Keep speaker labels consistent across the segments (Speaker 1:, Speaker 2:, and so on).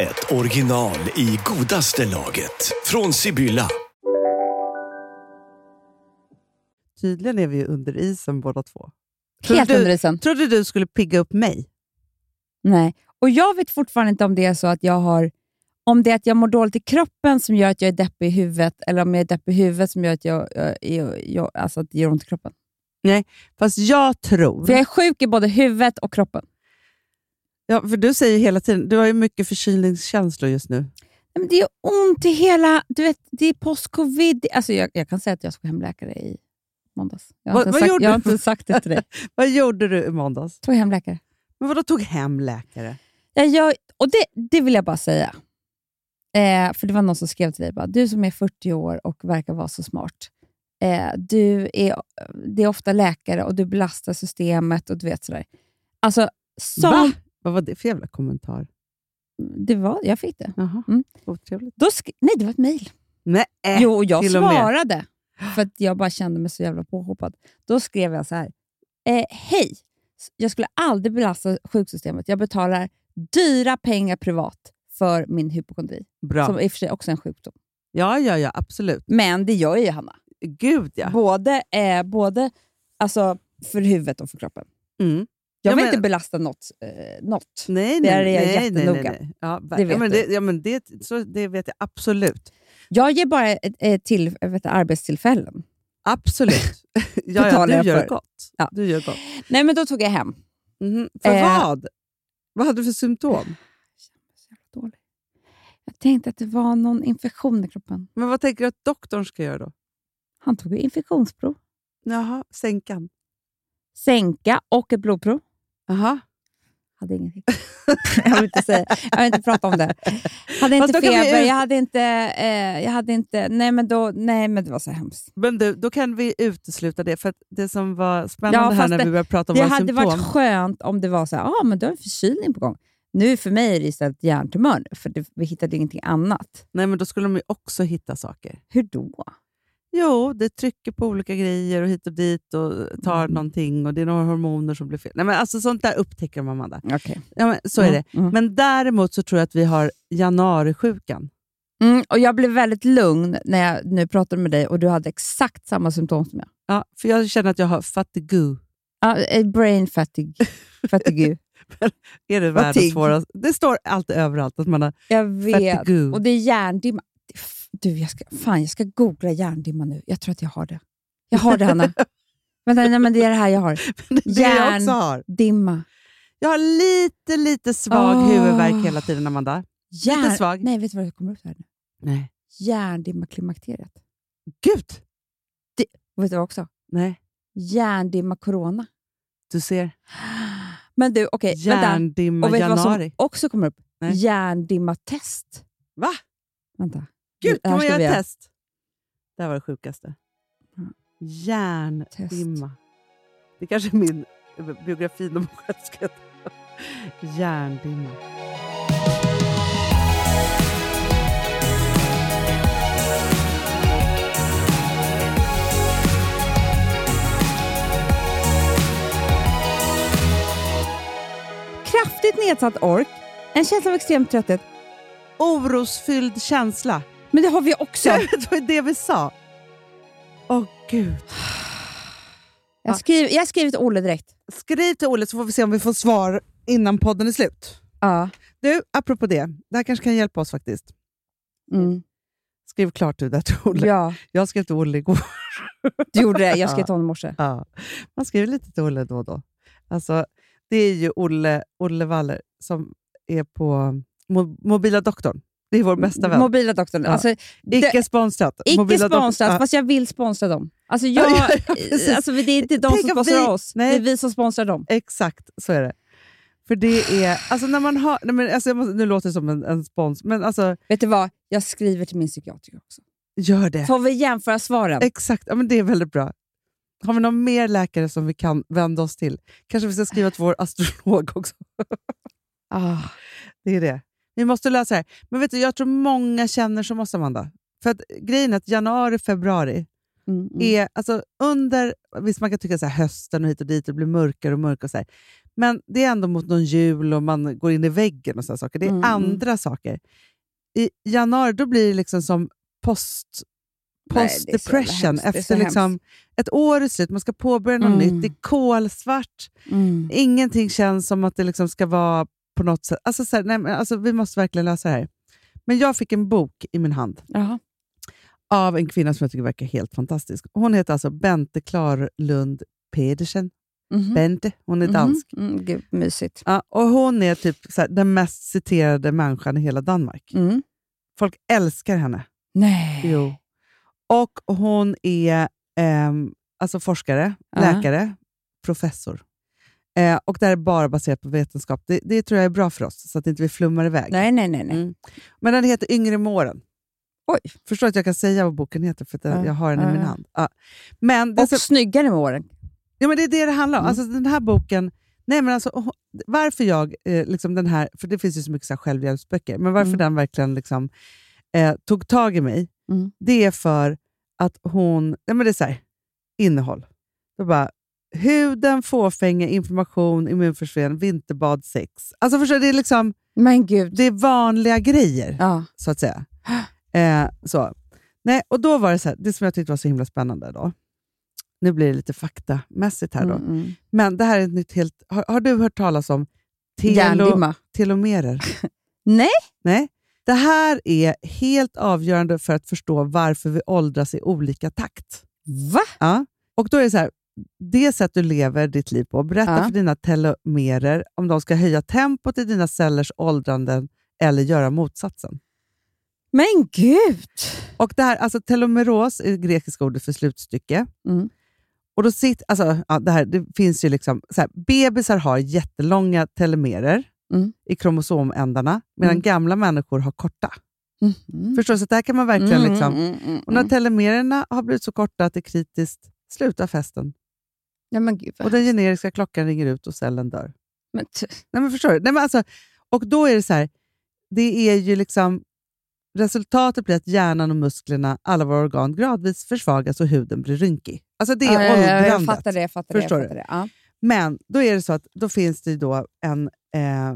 Speaker 1: ett original i godaste laget. Från Sibylla.
Speaker 2: Tydligen är vi ju under isen båda två.
Speaker 3: Helt
Speaker 2: du,
Speaker 3: under isen.
Speaker 2: Trodde du skulle pigga upp mig?
Speaker 3: Nej. Och jag vet fortfarande inte om det är så att jag har om det är att jag mår dåligt i kroppen som gör att jag är deppig i huvudet, eller om jag är deppig i huvudet som gör att, jag, jag, jag, jag, alltså att det gör ont i kroppen.
Speaker 2: Fast jag tror...
Speaker 3: För jag är sjuk i både huvudet och kroppen.
Speaker 2: Ja, för du säger ju hela tiden, du har ju mycket förkylningskänslor just nu.
Speaker 3: Nej, Men det är ont i hela... Du vet, det är post-covid. Det- Alltså jag, jag kan säga att jag såg hemläkare i måndags. Jag har,
Speaker 2: Vad-
Speaker 3: inte,
Speaker 2: vad
Speaker 3: sagt,
Speaker 2: gjorde
Speaker 3: jag har
Speaker 2: du?
Speaker 3: inte sagt det till dig.
Speaker 2: Vad gjorde du i måndags?
Speaker 3: Tog hemläkare.
Speaker 2: Men vadå tog hem läkare?
Speaker 3: Jag, jag, och det, det vill jag bara säga. Eh, för det var någon som skrev till dig bara, du som är 40 år och verkar vara så smart. Eh, du är, det är ofta läkare och du belastar systemet och du vet sådär. Alltså, som,
Speaker 2: Va? Vad var det för jävla kommentar?
Speaker 3: det var, jag fick det.
Speaker 2: Jaha,
Speaker 3: Mm.
Speaker 2: otrevligt.
Speaker 3: Då sk- nej, det var ett mejl.
Speaker 2: Nej, eh,
Speaker 3: Jo, och jag
Speaker 2: till och med.
Speaker 3: svarade. För att jag bara kände mig så jävla påhoppad. Då skrev jag så här. Eh, Hej! Jag skulle aldrig belasta sjuksystemet. Jag betalar dyra pengar privat för min hypokondri.
Speaker 2: bra.
Speaker 3: Som i och för sig också är en sjukdom.
Speaker 2: Ja, ja, ja, absolut.
Speaker 3: Men det gör ju Hanna.
Speaker 2: Gud ja.
Speaker 3: Både, eh, både alltså, för huvudet och för kroppen.
Speaker 2: Mm.
Speaker 3: Jag
Speaker 2: Ja,
Speaker 3: vill
Speaker 2: men-
Speaker 3: inte belasta något. Eh, något.
Speaker 2: Nej,
Speaker 3: Där
Speaker 2: nej,
Speaker 3: är jag
Speaker 2: nej, nej, nej,
Speaker 3: jättenoga.
Speaker 2: nej. Ja,
Speaker 3: Det
Speaker 2: det
Speaker 3: vet
Speaker 2: ja, men
Speaker 3: du.
Speaker 2: det, ja, men det, så, det vet jag absolut.
Speaker 3: Jag ger bara ett, ett till, eh, vet, du, arbetstillfällen.
Speaker 2: Absolut. ja, ja,
Speaker 3: talar
Speaker 2: du
Speaker 3: jag
Speaker 2: gör
Speaker 3: för.
Speaker 2: gott.
Speaker 3: Ja.
Speaker 2: Du gör gott.
Speaker 3: Nej, men då tog jag hem.
Speaker 2: Mhm. För
Speaker 3: Eh.
Speaker 2: vad? Vad hade du för symptom?
Speaker 3: Så jävla dålig. Jag tänkte att det var någon infektion i kroppen.
Speaker 2: Men vad tänker du att doktorn ska göra då?
Speaker 3: Han tog ju infektionsprov,
Speaker 2: Jaha, sänkan.
Speaker 3: sänka och ett blodprov.
Speaker 2: Jaha.
Speaker 3: Hade ingenting. jag, vill inte säga, jag vill inte prata om det. Hade
Speaker 2: Fast
Speaker 3: inte
Speaker 2: då kan vi
Speaker 3: feber,
Speaker 2: ut-
Speaker 3: jag hade inte... Eh, jag hade inte nej, men då, nej, men det var så hemskt.
Speaker 2: Men du, då kan vi utesluta det. För att det som var spännande här
Speaker 3: fast
Speaker 2: när
Speaker 3: det-
Speaker 2: vi började prata om
Speaker 3: Det
Speaker 2: våra
Speaker 3: hade
Speaker 2: symptom.
Speaker 3: varit skönt om det var så här, ah, men du har en förkylning på gång. Nu för mig är det istället hjärntumör, nu, för det, vi hittade ingenting annat.
Speaker 2: Nej, men då skulle de ju också hitta saker.
Speaker 3: Hur då?
Speaker 2: Jo, det trycker på olika grejer och hit och dit och tar
Speaker 3: Mm.
Speaker 2: någonting och det är några hormoner som blir fel. Nej, men alltså sånt där upptäcker man, Amanda.
Speaker 3: Okay.
Speaker 2: Ja, men, så
Speaker 3: Mm,
Speaker 2: är det. Men däremot så tror jag att vi har januarisjukan.
Speaker 3: Mm, och jag blev väldigt lugn när jag nu pratade med dig och du hade exakt samma symptom som jag.
Speaker 2: Ja, för jag känner att jag har fatigue.
Speaker 3: Ja, eh, brain fatigue. fatigue.
Speaker 2: Är det världens
Speaker 3: Fatigue.
Speaker 2: svåraste? Det står alltid överallt att man har
Speaker 3: Jag vet.
Speaker 2: fatigue.
Speaker 3: Och det är hjärndimma. F- Du, jag ska, fan, jag ska googla hjärndimma nu. Jag tror att jag har det. Jag har det, Hanna. Vänta, nej, men det är det här jag har.
Speaker 2: Det är jag också
Speaker 3: Järn-
Speaker 2: har.
Speaker 3: Dimma.
Speaker 2: Jag har lite, lite svag
Speaker 3: Ah.
Speaker 2: huvudvärk hela tiden, Amanda.
Speaker 3: Järn...
Speaker 2: svag.
Speaker 3: Nej, vet du vad det kommer upp här nu?
Speaker 2: Nej.
Speaker 3: Hjärndimma klimakteriet.
Speaker 2: Gud!
Speaker 3: Och vet du vad också?
Speaker 2: Nej,
Speaker 3: Hjärndimma corona.
Speaker 2: du ser.
Speaker 3: Men du, okej. Eh, vänta.
Speaker 2: Hjärndimma
Speaker 3: Och vet du vad som
Speaker 2: januari.
Speaker 3: också kommer upp?
Speaker 2: Nej.
Speaker 3: Hjärndimma-test.
Speaker 2: Va?
Speaker 3: Vänta.
Speaker 2: Gud, kan
Speaker 3: Här
Speaker 2: man
Speaker 3: ska
Speaker 2: göra
Speaker 3: vi
Speaker 2: ett
Speaker 3: göra.
Speaker 2: test? Det här var det sjukaste.
Speaker 3: Mm.
Speaker 2: Hjärndimma. Det kanske är min biografi om mig själv ska heta. Hjärndimma.
Speaker 3: Kraftigt nedsatt ork, en känsla av extrem trötthet.
Speaker 2: Orosfylld känsla.
Speaker 3: Men det har vi också.
Speaker 2: Det var det vi sa. Åh gud.
Speaker 3: Jag, skriv, jag skriver till Olle direkt.
Speaker 2: Skriv till Olle så får vi se om vi får svar innan podden är slut.
Speaker 3: Ja.
Speaker 2: Du, apropå det. Det här kanske kan hjälpa oss faktiskt.
Speaker 3: Mm.
Speaker 2: Skriv klart du där till Olle.
Speaker 3: ja.
Speaker 2: Jag skrev till Olle igår.
Speaker 3: Du gjorde det. Jag skrev till honom i morse.
Speaker 2: Ja. Man skriver lite till Olle då och då. Alltså, det är ju Olle, Olle Waller som är på mo Mobila doktorn. Det är vår bästa vän.
Speaker 3: Mobila doktorn.
Speaker 2: Ja.
Speaker 3: Alltså,
Speaker 2: Icke sponsrat.
Speaker 3: det, icke
Speaker 2: Mobila doktorn.
Speaker 3: sponsrat,
Speaker 2: Ja.
Speaker 3: fast jag vill sponsra dem. Alltså, jag,
Speaker 2: Ja, ja, precis.
Speaker 3: alltså, det är inte de
Speaker 2: Tänk
Speaker 3: som
Speaker 2: om
Speaker 3: sponsrar
Speaker 2: vi-
Speaker 3: oss.
Speaker 2: Nej.
Speaker 3: Det är vi som sponsrar dem.
Speaker 2: Exakt, så är det. För det är... Alltså när man har, nej men alltså jag måste, nu låter det som en, en spons, men alltså
Speaker 3: Vet du vad? Jag skriver till min psykiatriker också.
Speaker 2: gör det.
Speaker 3: Så vi jämföra svaren.
Speaker 2: Exakt, ja, men det är väldigt bra. Har vi någon mer läkare som vi kan vända oss till? Kanske vi ska skriva till vår astrolog också.
Speaker 3: Ah.
Speaker 2: Det är det. Vi måste lösa det här. Men vet du, jag tror många känner som oss, Amanda. För att grejen är att januari, februari
Speaker 3: Mm, mm.
Speaker 2: är alltså under... Visst, man kan tycka så här hösten och hit och dit, det blir mörkare och mörkare och så här. Men det är ändå mot någon jul och man går in i väggen och sådana saker. Det är
Speaker 3: Mm, mm.
Speaker 2: andra saker. I januari, då blir det liksom som post...
Speaker 3: Nej,
Speaker 2: Post
Speaker 3: det är så jävla
Speaker 2: depression,
Speaker 3: hemskt. Det är så
Speaker 2: efter
Speaker 3: hemskt.
Speaker 2: liksom ett år är slut, man ska påbörja något
Speaker 3: Mm.
Speaker 2: nytt, det är kolsvart,
Speaker 3: Mm.
Speaker 2: Ingenting känns som att det liksom ska vara på något sätt... Alltså, så här, nej, men, alltså, vi måste verkligen lösa det här. Men jag fick en bok i min hand
Speaker 3: Jaha.
Speaker 2: av en kvinna som jag tycker verkar helt fantastisk. Hon heter alltså Bente Klarlund Pedersen.
Speaker 3: Mhm.
Speaker 2: Bente, hon är
Speaker 3: Mhm.
Speaker 2: dansk.
Speaker 3: Mm, gud, mysigt.
Speaker 2: Ja, och Hon är typ så här, den mest citerade människan i hela Danmark.
Speaker 3: Mm.
Speaker 2: Folk älskar henne.
Speaker 3: Nej.
Speaker 2: Jo. Och hon är ehm, alltså forskare,
Speaker 3: Ja.
Speaker 2: läkare, professor. Eh, och det här är bara baserat på vetenskap. Det, det tror jag är bra för oss, så att inte vi flummar iväg.
Speaker 3: Nej, nej, nej. nej.
Speaker 2: Mm. Men den heter Yngre med åren.
Speaker 3: Oj.
Speaker 2: Förstår att jag kan säga vad boken heter, för att jag-
Speaker 3: Ja,
Speaker 2: jag har den
Speaker 3: ja,
Speaker 2: i min
Speaker 3: ja.
Speaker 2: hand. Ja. Men det, är
Speaker 3: Och
Speaker 2: så,
Speaker 3: snyggare med åren.
Speaker 2: ja, men det är det det handlar om.
Speaker 3: Mm.
Speaker 2: Alltså, den här boken... Nej, men alltså, hon- varför jag, eh, liksom den här, för det finns ju så mycket så här självhjälpsböcker, men varför
Speaker 3: Mm.
Speaker 2: den verkligen liksom, eh, tog tag i mig,
Speaker 3: Mm.
Speaker 2: det är för att hon... Ja, men det är så här, innehåll. Då bara, huden, fåfänga, information, immunförsvar, vinterbad, sex. Alltså förstår du, det är liksom
Speaker 3: Men gud.
Speaker 2: det är vanliga grejer
Speaker 3: Ja.
Speaker 2: så att säga. Eh, så. Nej, och då var det så här, det som jag tyckte var så himla spännande då. Nu blir det lite faktamässigt här då.
Speaker 3: Mm, mm.
Speaker 2: Men det här är ett nytt helt... Har, har du hört talas om telo,
Speaker 3: Hjärndimma.
Speaker 2: telomerer?
Speaker 3: Nej.
Speaker 2: Nej. Det här är helt avgörande för att förstå varför vi åldras i olika takt.
Speaker 3: Va?
Speaker 2: Ja. Och då är det så här, det sätt du lever ditt liv på, berätta
Speaker 3: Ja.
Speaker 2: för dina telomerer om de ska höja tempot i dina cellers åldranden eller göra motsatsen.
Speaker 3: Men gud.
Speaker 2: Och det här, alltså telomeros är det grekiska ordet för slutstycke.
Speaker 3: Mm.
Speaker 2: Och då sitter, alltså, ja, det, här, det finns ju liksom, så här, bebisar har jättelånga telomerer
Speaker 3: Mm.
Speaker 2: i kromosomändarna, medan
Speaker 3: Mm.
Speaker 2: gamla människor har korta.
Speaker 3: Mhm.
Speaker 2: Förstår du? Så det här kan man verkligen...
Speaker 3: Mm,
Speaker 2: liksom,
Speaker 3: mm, mm, mm,
Speaker 2: och när
Speaker 3: mm.
Speaker 2: telomererna har blivit så korta att det är kritiskt, slutar festen.
Speaker 3: Ja, men gud. vad-
Speaker 2: Och den generiska klockan ringer ut och cellen dör.
Speaker 3: Men t-
Speaker 2: Nej, men förstår du? Nej, men alltså, och då är det så här, det är ju liksom... Resultatet blir att hjärnan och musklerna, alla våra organ, gradvis försvagas och huden blir rynkig. Alltså det är
Speaker 3: Ja, ja, ja, Jag
Speaker 2: åldrandet.
Speaker 3: fattar det. Jag fattar
Speaker 2: Förstår
Speaker 3: det, jag fattar det. Ja.
Speaker 2: Men då är det så att då finns det ju då en, eh,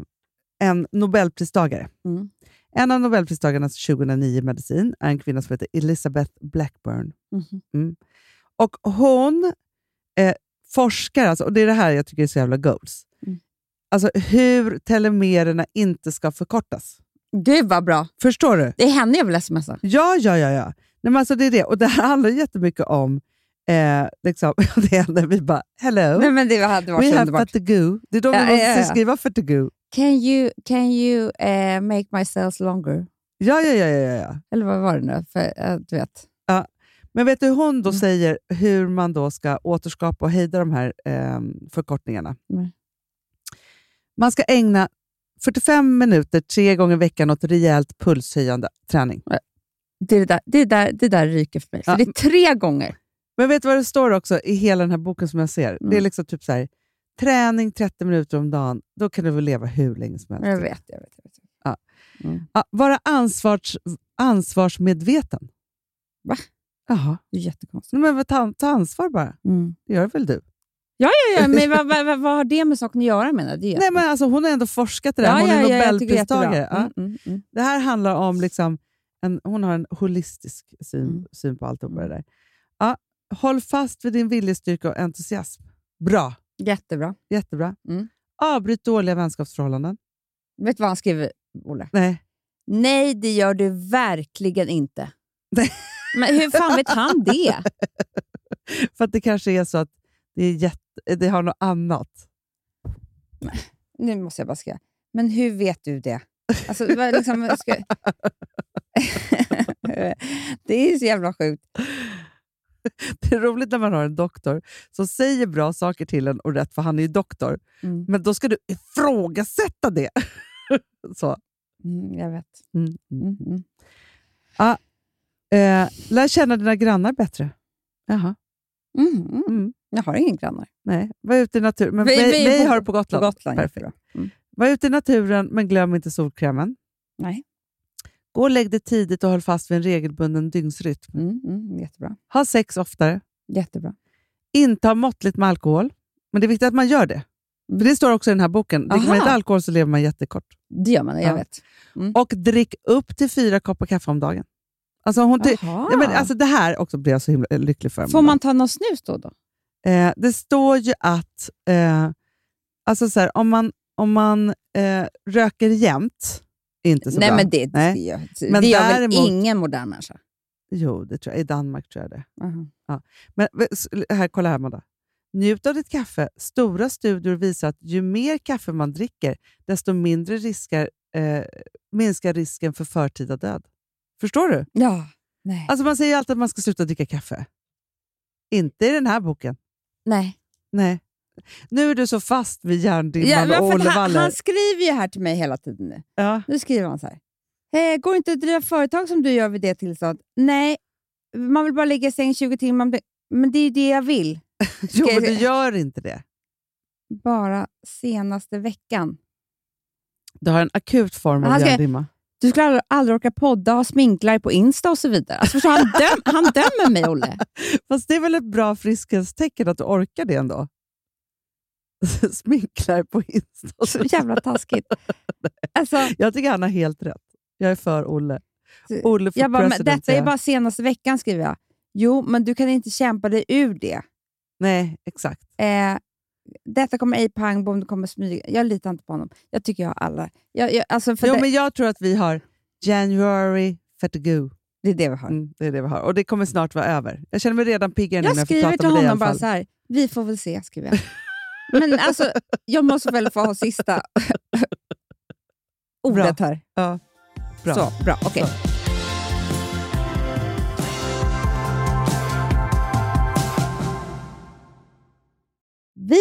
Speaker 2: en Nobelpristagare.
Speaker 3: Mm.
Speaker 2: En av Nobelpristagarna 2009 i medicin är en kvinna som heter Elizabeth Blackburn.
Speaker 3: Mhm.
Speaker 2: Mm. Och hon eh, forskar, alltså, och det är det här jag tycker är så jävla goals.
Speaker 3: Mm.
Speaker 2: Alltså hur telomererna inte ska förkortas.
Speaker 3: Gud vad bra.
Speaker 2: Förstår du?
Speaker 3: Det är henne jag vill smsa.
Speaker 2: Ja, ja, ja. ja. Nej, men alltså, det är det. Och det här handlar jättemycket om eh, liksom, det är när vi bara hello.
Speaker 3: Nej, men det hade varit
Speaker 2: We
Speaker 3: så
Speaker 2: have
Speaker 3: underbart.
Speaker 2: fatigue. Det är då vi
Speaker 3: Ja,
Speaker 2: måste
Speaker 3: ja, ja.
Speaker 2: skriva fatigue.
Speaker 3: Can you, can you eh, make my cells longer?
Speaker 2: Ja, ja, ja, ja, ja, ja.
Speaker 3: Eller vad var det nu? För, eh, du vet.
Speaker 2: Men vet du hur hon då
Speaker 3: Mm.
Speaker 2: säger hur man då ska återskapa och hejda de här eh, förkortningarna?
Speaker 3: Nej.
Speaker 2: Man ska ägna 45 minuter tre gånger i veckan åt rejält pulshöjande träning.
Speaker 3: Det, är det, där, det, är där, det där ryker för mig. För
Speaker 2: Ja.
Speaker 3: det är tre gånger.
Speaker 2: Men vet du vad det står också i hela den här boken som jag ser? Det är
Speaker 3: Mm.
Speaker 2: liksom typ så här, träning 30 minuter om dagen, då kan du väl leva hur länge som helst.
Speaker 3: Jag vet, jag vet. Jag vet.
Speaker 2: Ja, vara ansvars, ansvarsmedveten.
Speaker 3: Va?
Speaker 2: Jaha.
Speaker 3: Det är jättekonstigt.
Speaker 2: Nej, Men vad- ta, ta ansvar bara.
Speaker 3: Mm.
Speaker 2: Det gör väl du?
Speaker 3: Ja, ja, men vad, vad, vad, vad har det med saken att göra menar jag? Det är
Speaker 2: Nej, men alltså, hon har ändå forskat i det här.
Speaker 3: Ja,
Speaker 2: hon
Speaker 3: ja,
Speaker 2: är
Speaker 3: ja, jag tycker det är
Speaker 2: Nobelpristagare.
Speaker 3: jättebra.
Speaker 2: Ja,
Speaker 3: Mm, mm, mm.
Speaker 2: det här handlar om... liksom en, Hon har en holistisk syn,
Speaker 3: Mm.
Speaker 2: syn på allt och på det
Speaker 3: Mm.
Speaker 2: där. Ja, håll fast vid din viljestyrka och entusiasm. Bra.
Speaker 3: Jättebra.
Speaker 2: Jättebra.
Speaker 3: Mm.
Speaker 2: Avbryt dåliga vänskapsförhållanden.
Speaker 3: Vet du vad han skriver, Olle?
Speaker 2: Nej.
Speaker 3: Nej, det gör du verkligen inte.
Speaker 2: Nej.
Speaker 3: Men hur fan vet han det?
Speaker 2: För att det kanske är så att det, är jätte, det har något annat.
Speaker 3: Nu måste jag bara skriva. Men hur vet du det? Alltså, vad- liksom, ska... det är ju så jävla sjukt.
Speaker 2: Det är roligt när man har en doktor som säger bra saker till en och rätt, för han är ju doktor.
Speaker 3: Mm.
Speaker 2: Men då ska du ifrågasätta det. Så.
Speaker 3: Mm, jag vet.
Speaker 2: Mm. Mm.
Speaker 3: Mm, mm.
Speaker 2: Eh, lär känna dina grannar bättre. Jaha.
Speaker 3: Mm, mm.
Speaker 2: Mm.
Speaker 3: Jag har ingen grannar.
Speaker 2: Nej, var ute i naturen. Men
Speaker 3: Vi-
Speaker 2: vi, vi,
Speaker 3: vi är på-
Speaker 2: har det på
Speaker 3: På
Speaker 2: Gotland.
Speaker 3: Gotland.
Speaker 2: Perfekt.
Speaker 3: jättebra.
Speaker 2: Var ute i naturen, men glöm inte solkrämen.
Speaker 3: Nej.
Speaker 2: Gå och lägg dig tidigt och håll fast vid en regelbunden dygnsrytm.
Speaker 3: Mm, mm, jättebra.
Speaker 2: Ha sex oftare.
Speaker 3: Jättebra.
Speaker 2: Inta måttligt med alkohol. Men det är viktigt att man gör det. För det står också i den här boken. Dricker man
Speaker 3: Mm. Aha.
Speaker 2: inte alkohol så lever man jättekort.
Speaker 3: Det gör man, jag
Speaker 2: Ja.
Speaker 3: vet.
Speaker 2: Och drick upp till fyra koppar kaffe om dagen. Alltså hon ty-
Speaker 3: Jaha.
Speaker 2: ja, men alltså det här också blir jag så himla eh, lycklig för.
Speaker 3: Får man ta någon snus då? då?
Speaker 2: Eh, det står ju att eh, alltså så här, om man, om man eh, röker jämt, är inte så
Speaker 3: Nej,
Speaker 2: bra.
Speaker 3: men det, det,
Speaker 2: Nej.
Speaker 3: Gör, det
Speaker 2: Men
Speaker 3: gör
Speaker 2: däremot-
Speaker 3: väl ingen modern människa?
Speaker 2: Jo, det tror jag. I Danmark tror jag det.
Speaker 3: Aha.
Speaker 2: Men v- s- här, kolla här Amanda. Njut av ditt kaffe. Stora studier visar att ju mer kaffe man dricker, desto mindre risker, eh, minskar risken för förtida död. Förstår du?
Speaker 3: Ja. Nej.
Speaker 2: Alltså man säger ju alltid att man ska sluta dricka kaffe. Inte i den här boken.
Speaker 3: Nej.
Speaker 2: Nej. Nu är du så fast vid
Speaker 3: Ja,
Speaker 2: järndimman
Speaker 3: men
Speaker 2: och
Speaker 3: för
Speaker 2: Olle
Speaker 3: att han,
Speaker 2: Waller.
Speaker 3: han skriver ju här till mig hela tiden nu.
Speaker 2: Ja.
Speaker 3: Nu skriver han så här. Eh, går det inte att driva företag som du gör vid det tillstånd? Nej, man vill bara ligga i säng 20 timmar om det. Men det är ju det jag vill.
Speaker 2: Jo,
Speaker 3: Ska
Speaker 2: men
Speaker 3: jag
Speaker 2: du
Speaker 3: se-
Speaker 2: gör inte det.
Speaker 3: Bara senaste veckan.
Speaker 2: Du har en akut form
Speaker 3: Men
Speaker 2: av
Speaker 3: han ska-
Speaker 2: järndimma.
Speaker 3: Du skulle aldrig, aldrig orka podda, ha sminklar på Insta och så vidare. Alltså, förstår du? han, döm, han dömer mig, Olle.
Speaker 2: Fast det är väl ett bra friskhetstecken att du orkar det ändå? Sminklar på Insta. och så
Speaker 3: Så jävla taskigt. Alltså,
Speaker 2: Jag tycker han har helt rätt. Jag är för Olle. Olle för
Speaker 3: jag bara, men
Speaker 2: president.
Speaker 3: detta
Speaker 2: säger
Speaker 3: är
Speaker 2: jag.
Speaker 3: bara senaste veckan, skriver jag. Jo, men du kan inte kämpa dig ur det.
Speaker 2: Nej, exakt.
Speaker 3: Eh, detta kommer ej pang om det kommer smyga. Jag litar inte på honom. Jag tycker jag har alla. Jag, jag, alltså för
Speaker 2: Jo,
Speaker 3: det,
Speaker 2: men jag tror att vi har January fatigue.
Speaker 3: det är det vi har.
Speaker 2: Mm, det är det vi har. Och det kommer snart vara över. Jag känner mig redan piggare nu
Speaker 3: Jag
Speaker 2: när jag får
Speaker 3: skriver
Speaker 2: prata
Speaker 3: till
Speaker 2: med dig i
Speaker 3: honom
Speaker 2: alla
Speaker 3: bara
Speaker 2: fall.
Speaker 3: så här. vi får väl se, skriver jag. Men alltså, jag måste väl få ha sista ordet här.
Speaker 2: Ja, bra.
Speaker 3: Så, bra. Okej.
Speaker 2: Så.
Speaker 3: Vi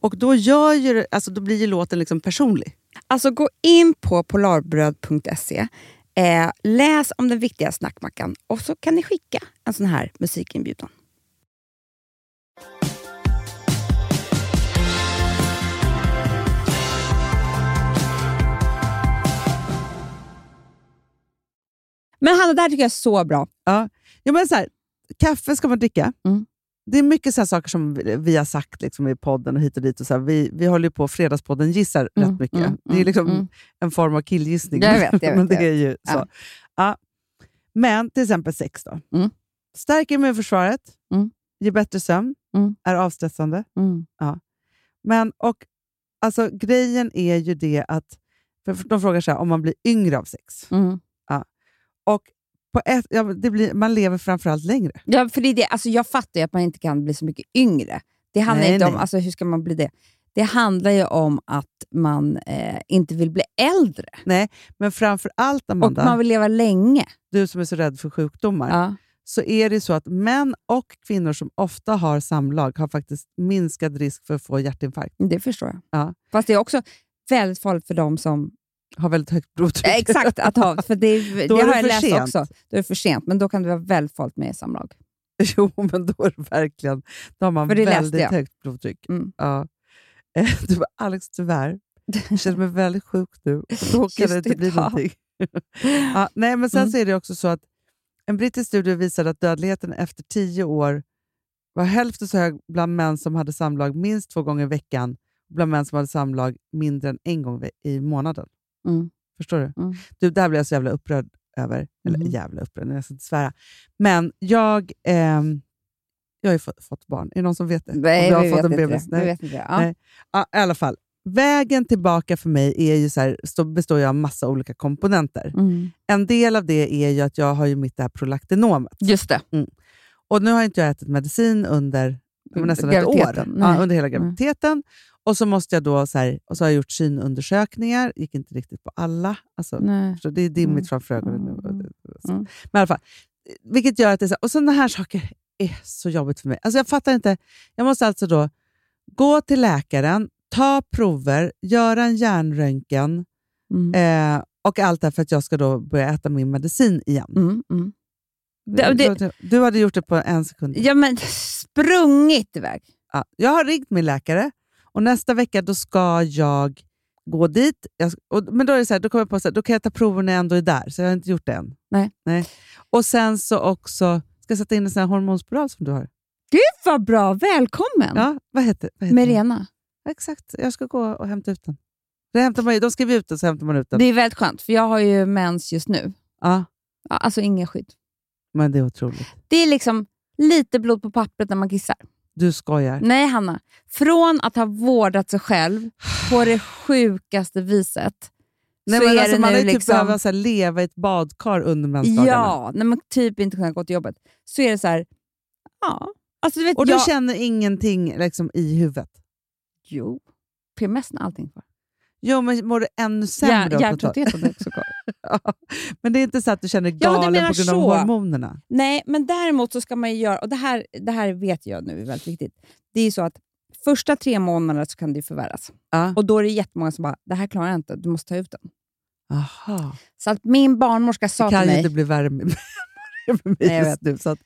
Speaker 2: Och då, gör ju, det- alltså, då blir ju låten liksom personlig.
Speaker 3: Alltså gå in på polarbröd.se, eh, läs om den viktiga snackmackan och så kan ni skicka en sån här musikinbjudan. Men Hanna, det här tycker jag är så bra.
Speaker 2: Ja, men så här, kaffe ska man dricka.
Speaker 3: Mm.
Speaker 2: Det är mycket så här saker som vi, vi har sagt liksom, i podden och hit och dit. Och så här, vi, vi håller ju på Fredagspodden gissar
Speaker 3: Mm,
Speaker 2: rätt mycket.
Speaker 3: mm,
Speaker 2: det är liksom
Speaker 3: mm.
Speaker 2: en form av killgissning.
Speaker 3: Jag vet, jag vet,
Speaker 2: men det
Speaker 3: jag
Speaker 2: är ju så. Ja.
Speaker 3: Ja.
Speaker 2: Men till exempel sex då.
Speaker 3: Mm.
Speaker 2: Stärker immunförsvaret,
Speaker 3: Mm.
Speaker 2: ger bättre sömn,
Speaker 3: Mm.
Speaker 2: är avstressande.
Speaker 3: Mm.
Speaker 2: Men, och, alltså, grejen är ju det att, för de frågar så här, om man blir yngre av sex.
Speaker 3: Mm.
Speaker 2: Och på ett, ja, det blir, man lever framförallt längre.
Speaker 3: Ja, för det är det. Alltså, jag fattar ju att man inte kan bli så mycket yngre. Det handlar
Speaker 2: Nej,
Speaker 3: inte om,
Speaker 2: nej.
Speaker 3: alltså, hur ska man bli det? Det handlar ju om att man eh, inte vill bli äldre
Speaker 2: Men framför allt,
Speaker 3: och
Speaker 2: Amanda,
Speaker 3: man vill leva länge.
Speaker 2: du som är så rädd för sjukdomar,
Speaker 3: Ja.
Speaker 2: så är det så att män och kvinnor som ofta har samlag har faktiskt minskad risk för att få hjärtinfarkt.
Speaker 3: Det förstår jag.
Speaker 2: Ja.
Speaker 3: Fast det är också väldigt farligt för dem som...
Speaker 2: Har väldigt högt blodtryck.
Speaker 3: Eh, Exakt, att ha, för det, det
Speaker 2: Då är
Speaker 3: har
Speaker 2: det
Speaker 3: jag
Speaker 2: för
Speaker 3: läst
Speaker 2: sent.
Speaker 3: också. Då är det för sent, men då kan det vara väldigt farligt med samlag.
Speaker 2: jo, men då är det verkligen... Då har man
Speaker 3: För det läste
Speaker 2: väldigt
Speaker 3: jag.
Speaker 2: högt blodtryck.
Speaker 3: Mm.
Speaker 2: Ja. Eh, Du bara, Alex, tyvärr. Jag känner mig väldigt sjuk nu. Och Då kan
Speaker 3: Just
Speaker 2: det inte bli
Speaker 3: idag.
Speaker 2: någonting. ja, nej, men sen
Speaker 3: Mm.
Speaker 2: så är det också så att en brittisk studie visade att dödligheten efter tio år var hälften så hög bland män som hade samlag minst två gånger i veckan och bland män som hade samlag mindre än en gång ve- i månaden.
Speaker 3: Mm.
Speaker 2: Förstår du?
Speaker 3: Mm.
Speaker 2: du? Det här blev jag så jävla upprörd över. Eller
Speaker 3: Mhm.
Speaker 2: jävla upprörd, jag ska inte svära. Men jag, ehm, jag har ju fått, fått barn. Är det någon som vet det? Om
Speaker 3: Nej,
Speaker 2: jag har
Speaker 3: vi,
Speaker 2: fått
Speaker 3: vet
Speaker 2: en
Speaker 3: inte
Speaker 2: bebis?
Speaker 3: det.
Speaker 2: Nej.
Speaker 3: vi vet inte det. Ja.
Speaker 2: Nej. Ja, I alla fall. Vägen tillbaka för mig är ju så här, så består ju av massa olika komponenter.
Speaker 3: Mm.
Speaker 2: En del av det är ju att jag har ju mitt det här prolaktinomet.
Speaker 3: Just det.
Speaker 2: Och nu har inte jag ätit medicin under ja, men nästan ett år.
Speaker 3: Graviditeten, nej. Mm.
Speaker 2: Ja, under hela graviditeten. Och så måste jag då så här, och så har jag gjort synundersökningar. gick inte riktigt på alla. Alltså,
Speaker 3: Nej.
Speaker 2: så det är dimmigt
Speaker 3: Mm.
Speaker 2: framför ögonen nu.
Speaker 3: Mm.
Speaker 2: Så.
Speaker 3: Mm.
Speaker 2: Men i alla fall, vilket gör att det är så här, och sådana här saker är så jobbigt för mig. Alltså jag fattar inte. Jag måste alltså då gå till läkaren, ta prover, göra en hjärnröntgen
Speaker 3: Mm.
Speaker 2: eh, och allt det här för att jag ska då börja äta min medicin igen.
Speaker 3: Mm. Mm. Det- det-
Speaker 2: du hade gjort det på en sekund.
Speaker 3: Ja, men sprungit iväg.
Speaker 2: Ja, jag har ringt min läkare och nästa vecka då ska jag gå dit. Jag, och, men då är det så här, då kommer jag på så här, då kan jag ta prover när jag ändå är där, så jag har inte gjort det än.
Speaker 3: Nej.
Speaker 2: Nej. Och sen så också, ska jag sätta in en sån här hormonspiral som du har?
Speaker 3: Mm. Gud vad bra, välkommen!
Speaker 2: Ja, vad heter, vad heter den?
Speaker 3: Merena.
Speaker 2: Exakt, jag ska gå och hämta ut den. Det hämtar man, ju- de skriver ut den så hämtar man ut den.
Speaker 3: Det är väldigt skönt, för jag har ju mens just nu.
Speaker 2: Ja,
Speaker 3: Ja, alltså inga skydd.
Speaker 2: men det är otroligt.
Speaker 3: Det är liksom lite blod på pappret när man kissar.
Speaker 2: Du skojar.
Speaker 3: Nej, Hanna. Från att ha vårdat sig själv på det sjukaste viset,
Speaker 2: Nej,
Speaker 3: så
Speaker 2: men
Speaker 3: är
Speaker 2: alltså,
Speaker 3: det
Speaker 2: man
Speaker 3: nu
Speaker 2: har ju typ
Speaker 3: liksom...
Speaker 2: behövt så här, leva i ett badkar under mensdagarna.
Speaker 3: ja, när man typ inte kunnat gå till jobbet. Så är det så här, ja. Alltså, du vet,
Speaker 2: Och du
Speaker 3: jag,
Speaker 2: känner ingenting liksom, i huvudet?
Speaker 3: Jo, PMS och allting kvar.
Speaker 2: Jo, men mår du ännu
Speaker 3: Hjär-
Speaker 2: sämre av att ta-
Speaker 3: Hjärttröttheten är också kvar.
Speaker 2: Ja, Men det är inte så att du känner dig
Speaker 3: Ja, men du
Speaker 2: galen
Speaker 3: menar
Speaker 2: på grund
Speaker 3: så.
Speaker 2: av hormonerna?
Speaker 3: Nej, men däremot så ska man ju göra, och det här, det här vet jag nu är väldigt viktigt. Det är ju så att första tre månaderna så kan det ju förvärras.
Speaker 2: Ja.
Speaker 3: Och då är det jättemånga som bara, det här klarar jag inte, du måste ta ut den.
Speaker 2: Aha.
Speaker 3: Så att min barnmorska
Speaker 2: Det
Speaker 3: sa till
Speaker 2: kan ju
Speaker 3: mig,
Speaker 2: inte bli värre med med mig
Speaker 3: Nej, jag
Speaker 2: just nu. Så att,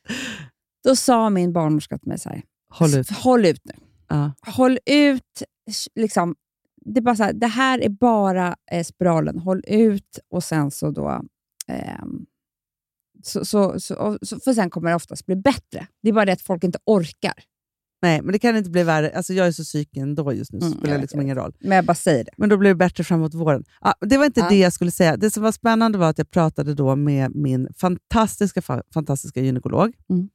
Speaker 3: då sa min barnmorska till mig så här,
Speaker 2: håll ut.
Speaker 3: håll ut nu.
Speaker 2: Ja.
Speaker 3: Håll ut, liksom, det, är bara så här, det här är bara eh, spiralen. Håll ut och sen så då... ehm, så, så, så, och, så, för sen kommer det oftast bli bättre. Det är bara det att folk inte orkar.
Speaker 2: Nej, men det kan inte bli värre. Alltså, jag är så psyk ändå just nu, så
Speaker 3: Mm,
Speaker 2: spelar
Speaker 3: jag
Speaker 2: det
Speaker 3: vet,
Speaker 2: liksom
Speaker 3: jag
Speaker 2: ingen roll.
Speaker 3: Men jag bara säger det.
Speaker 2: Men då blir det bättre framåt våren. Ah, det var inte
Speaker 3: Ja.
Speaker 2: det jag skulle säga. Det som var spännande var att jag pratade då med min fantastiska, fa- fantastiska gynekolog.
Speaker 3: Mm.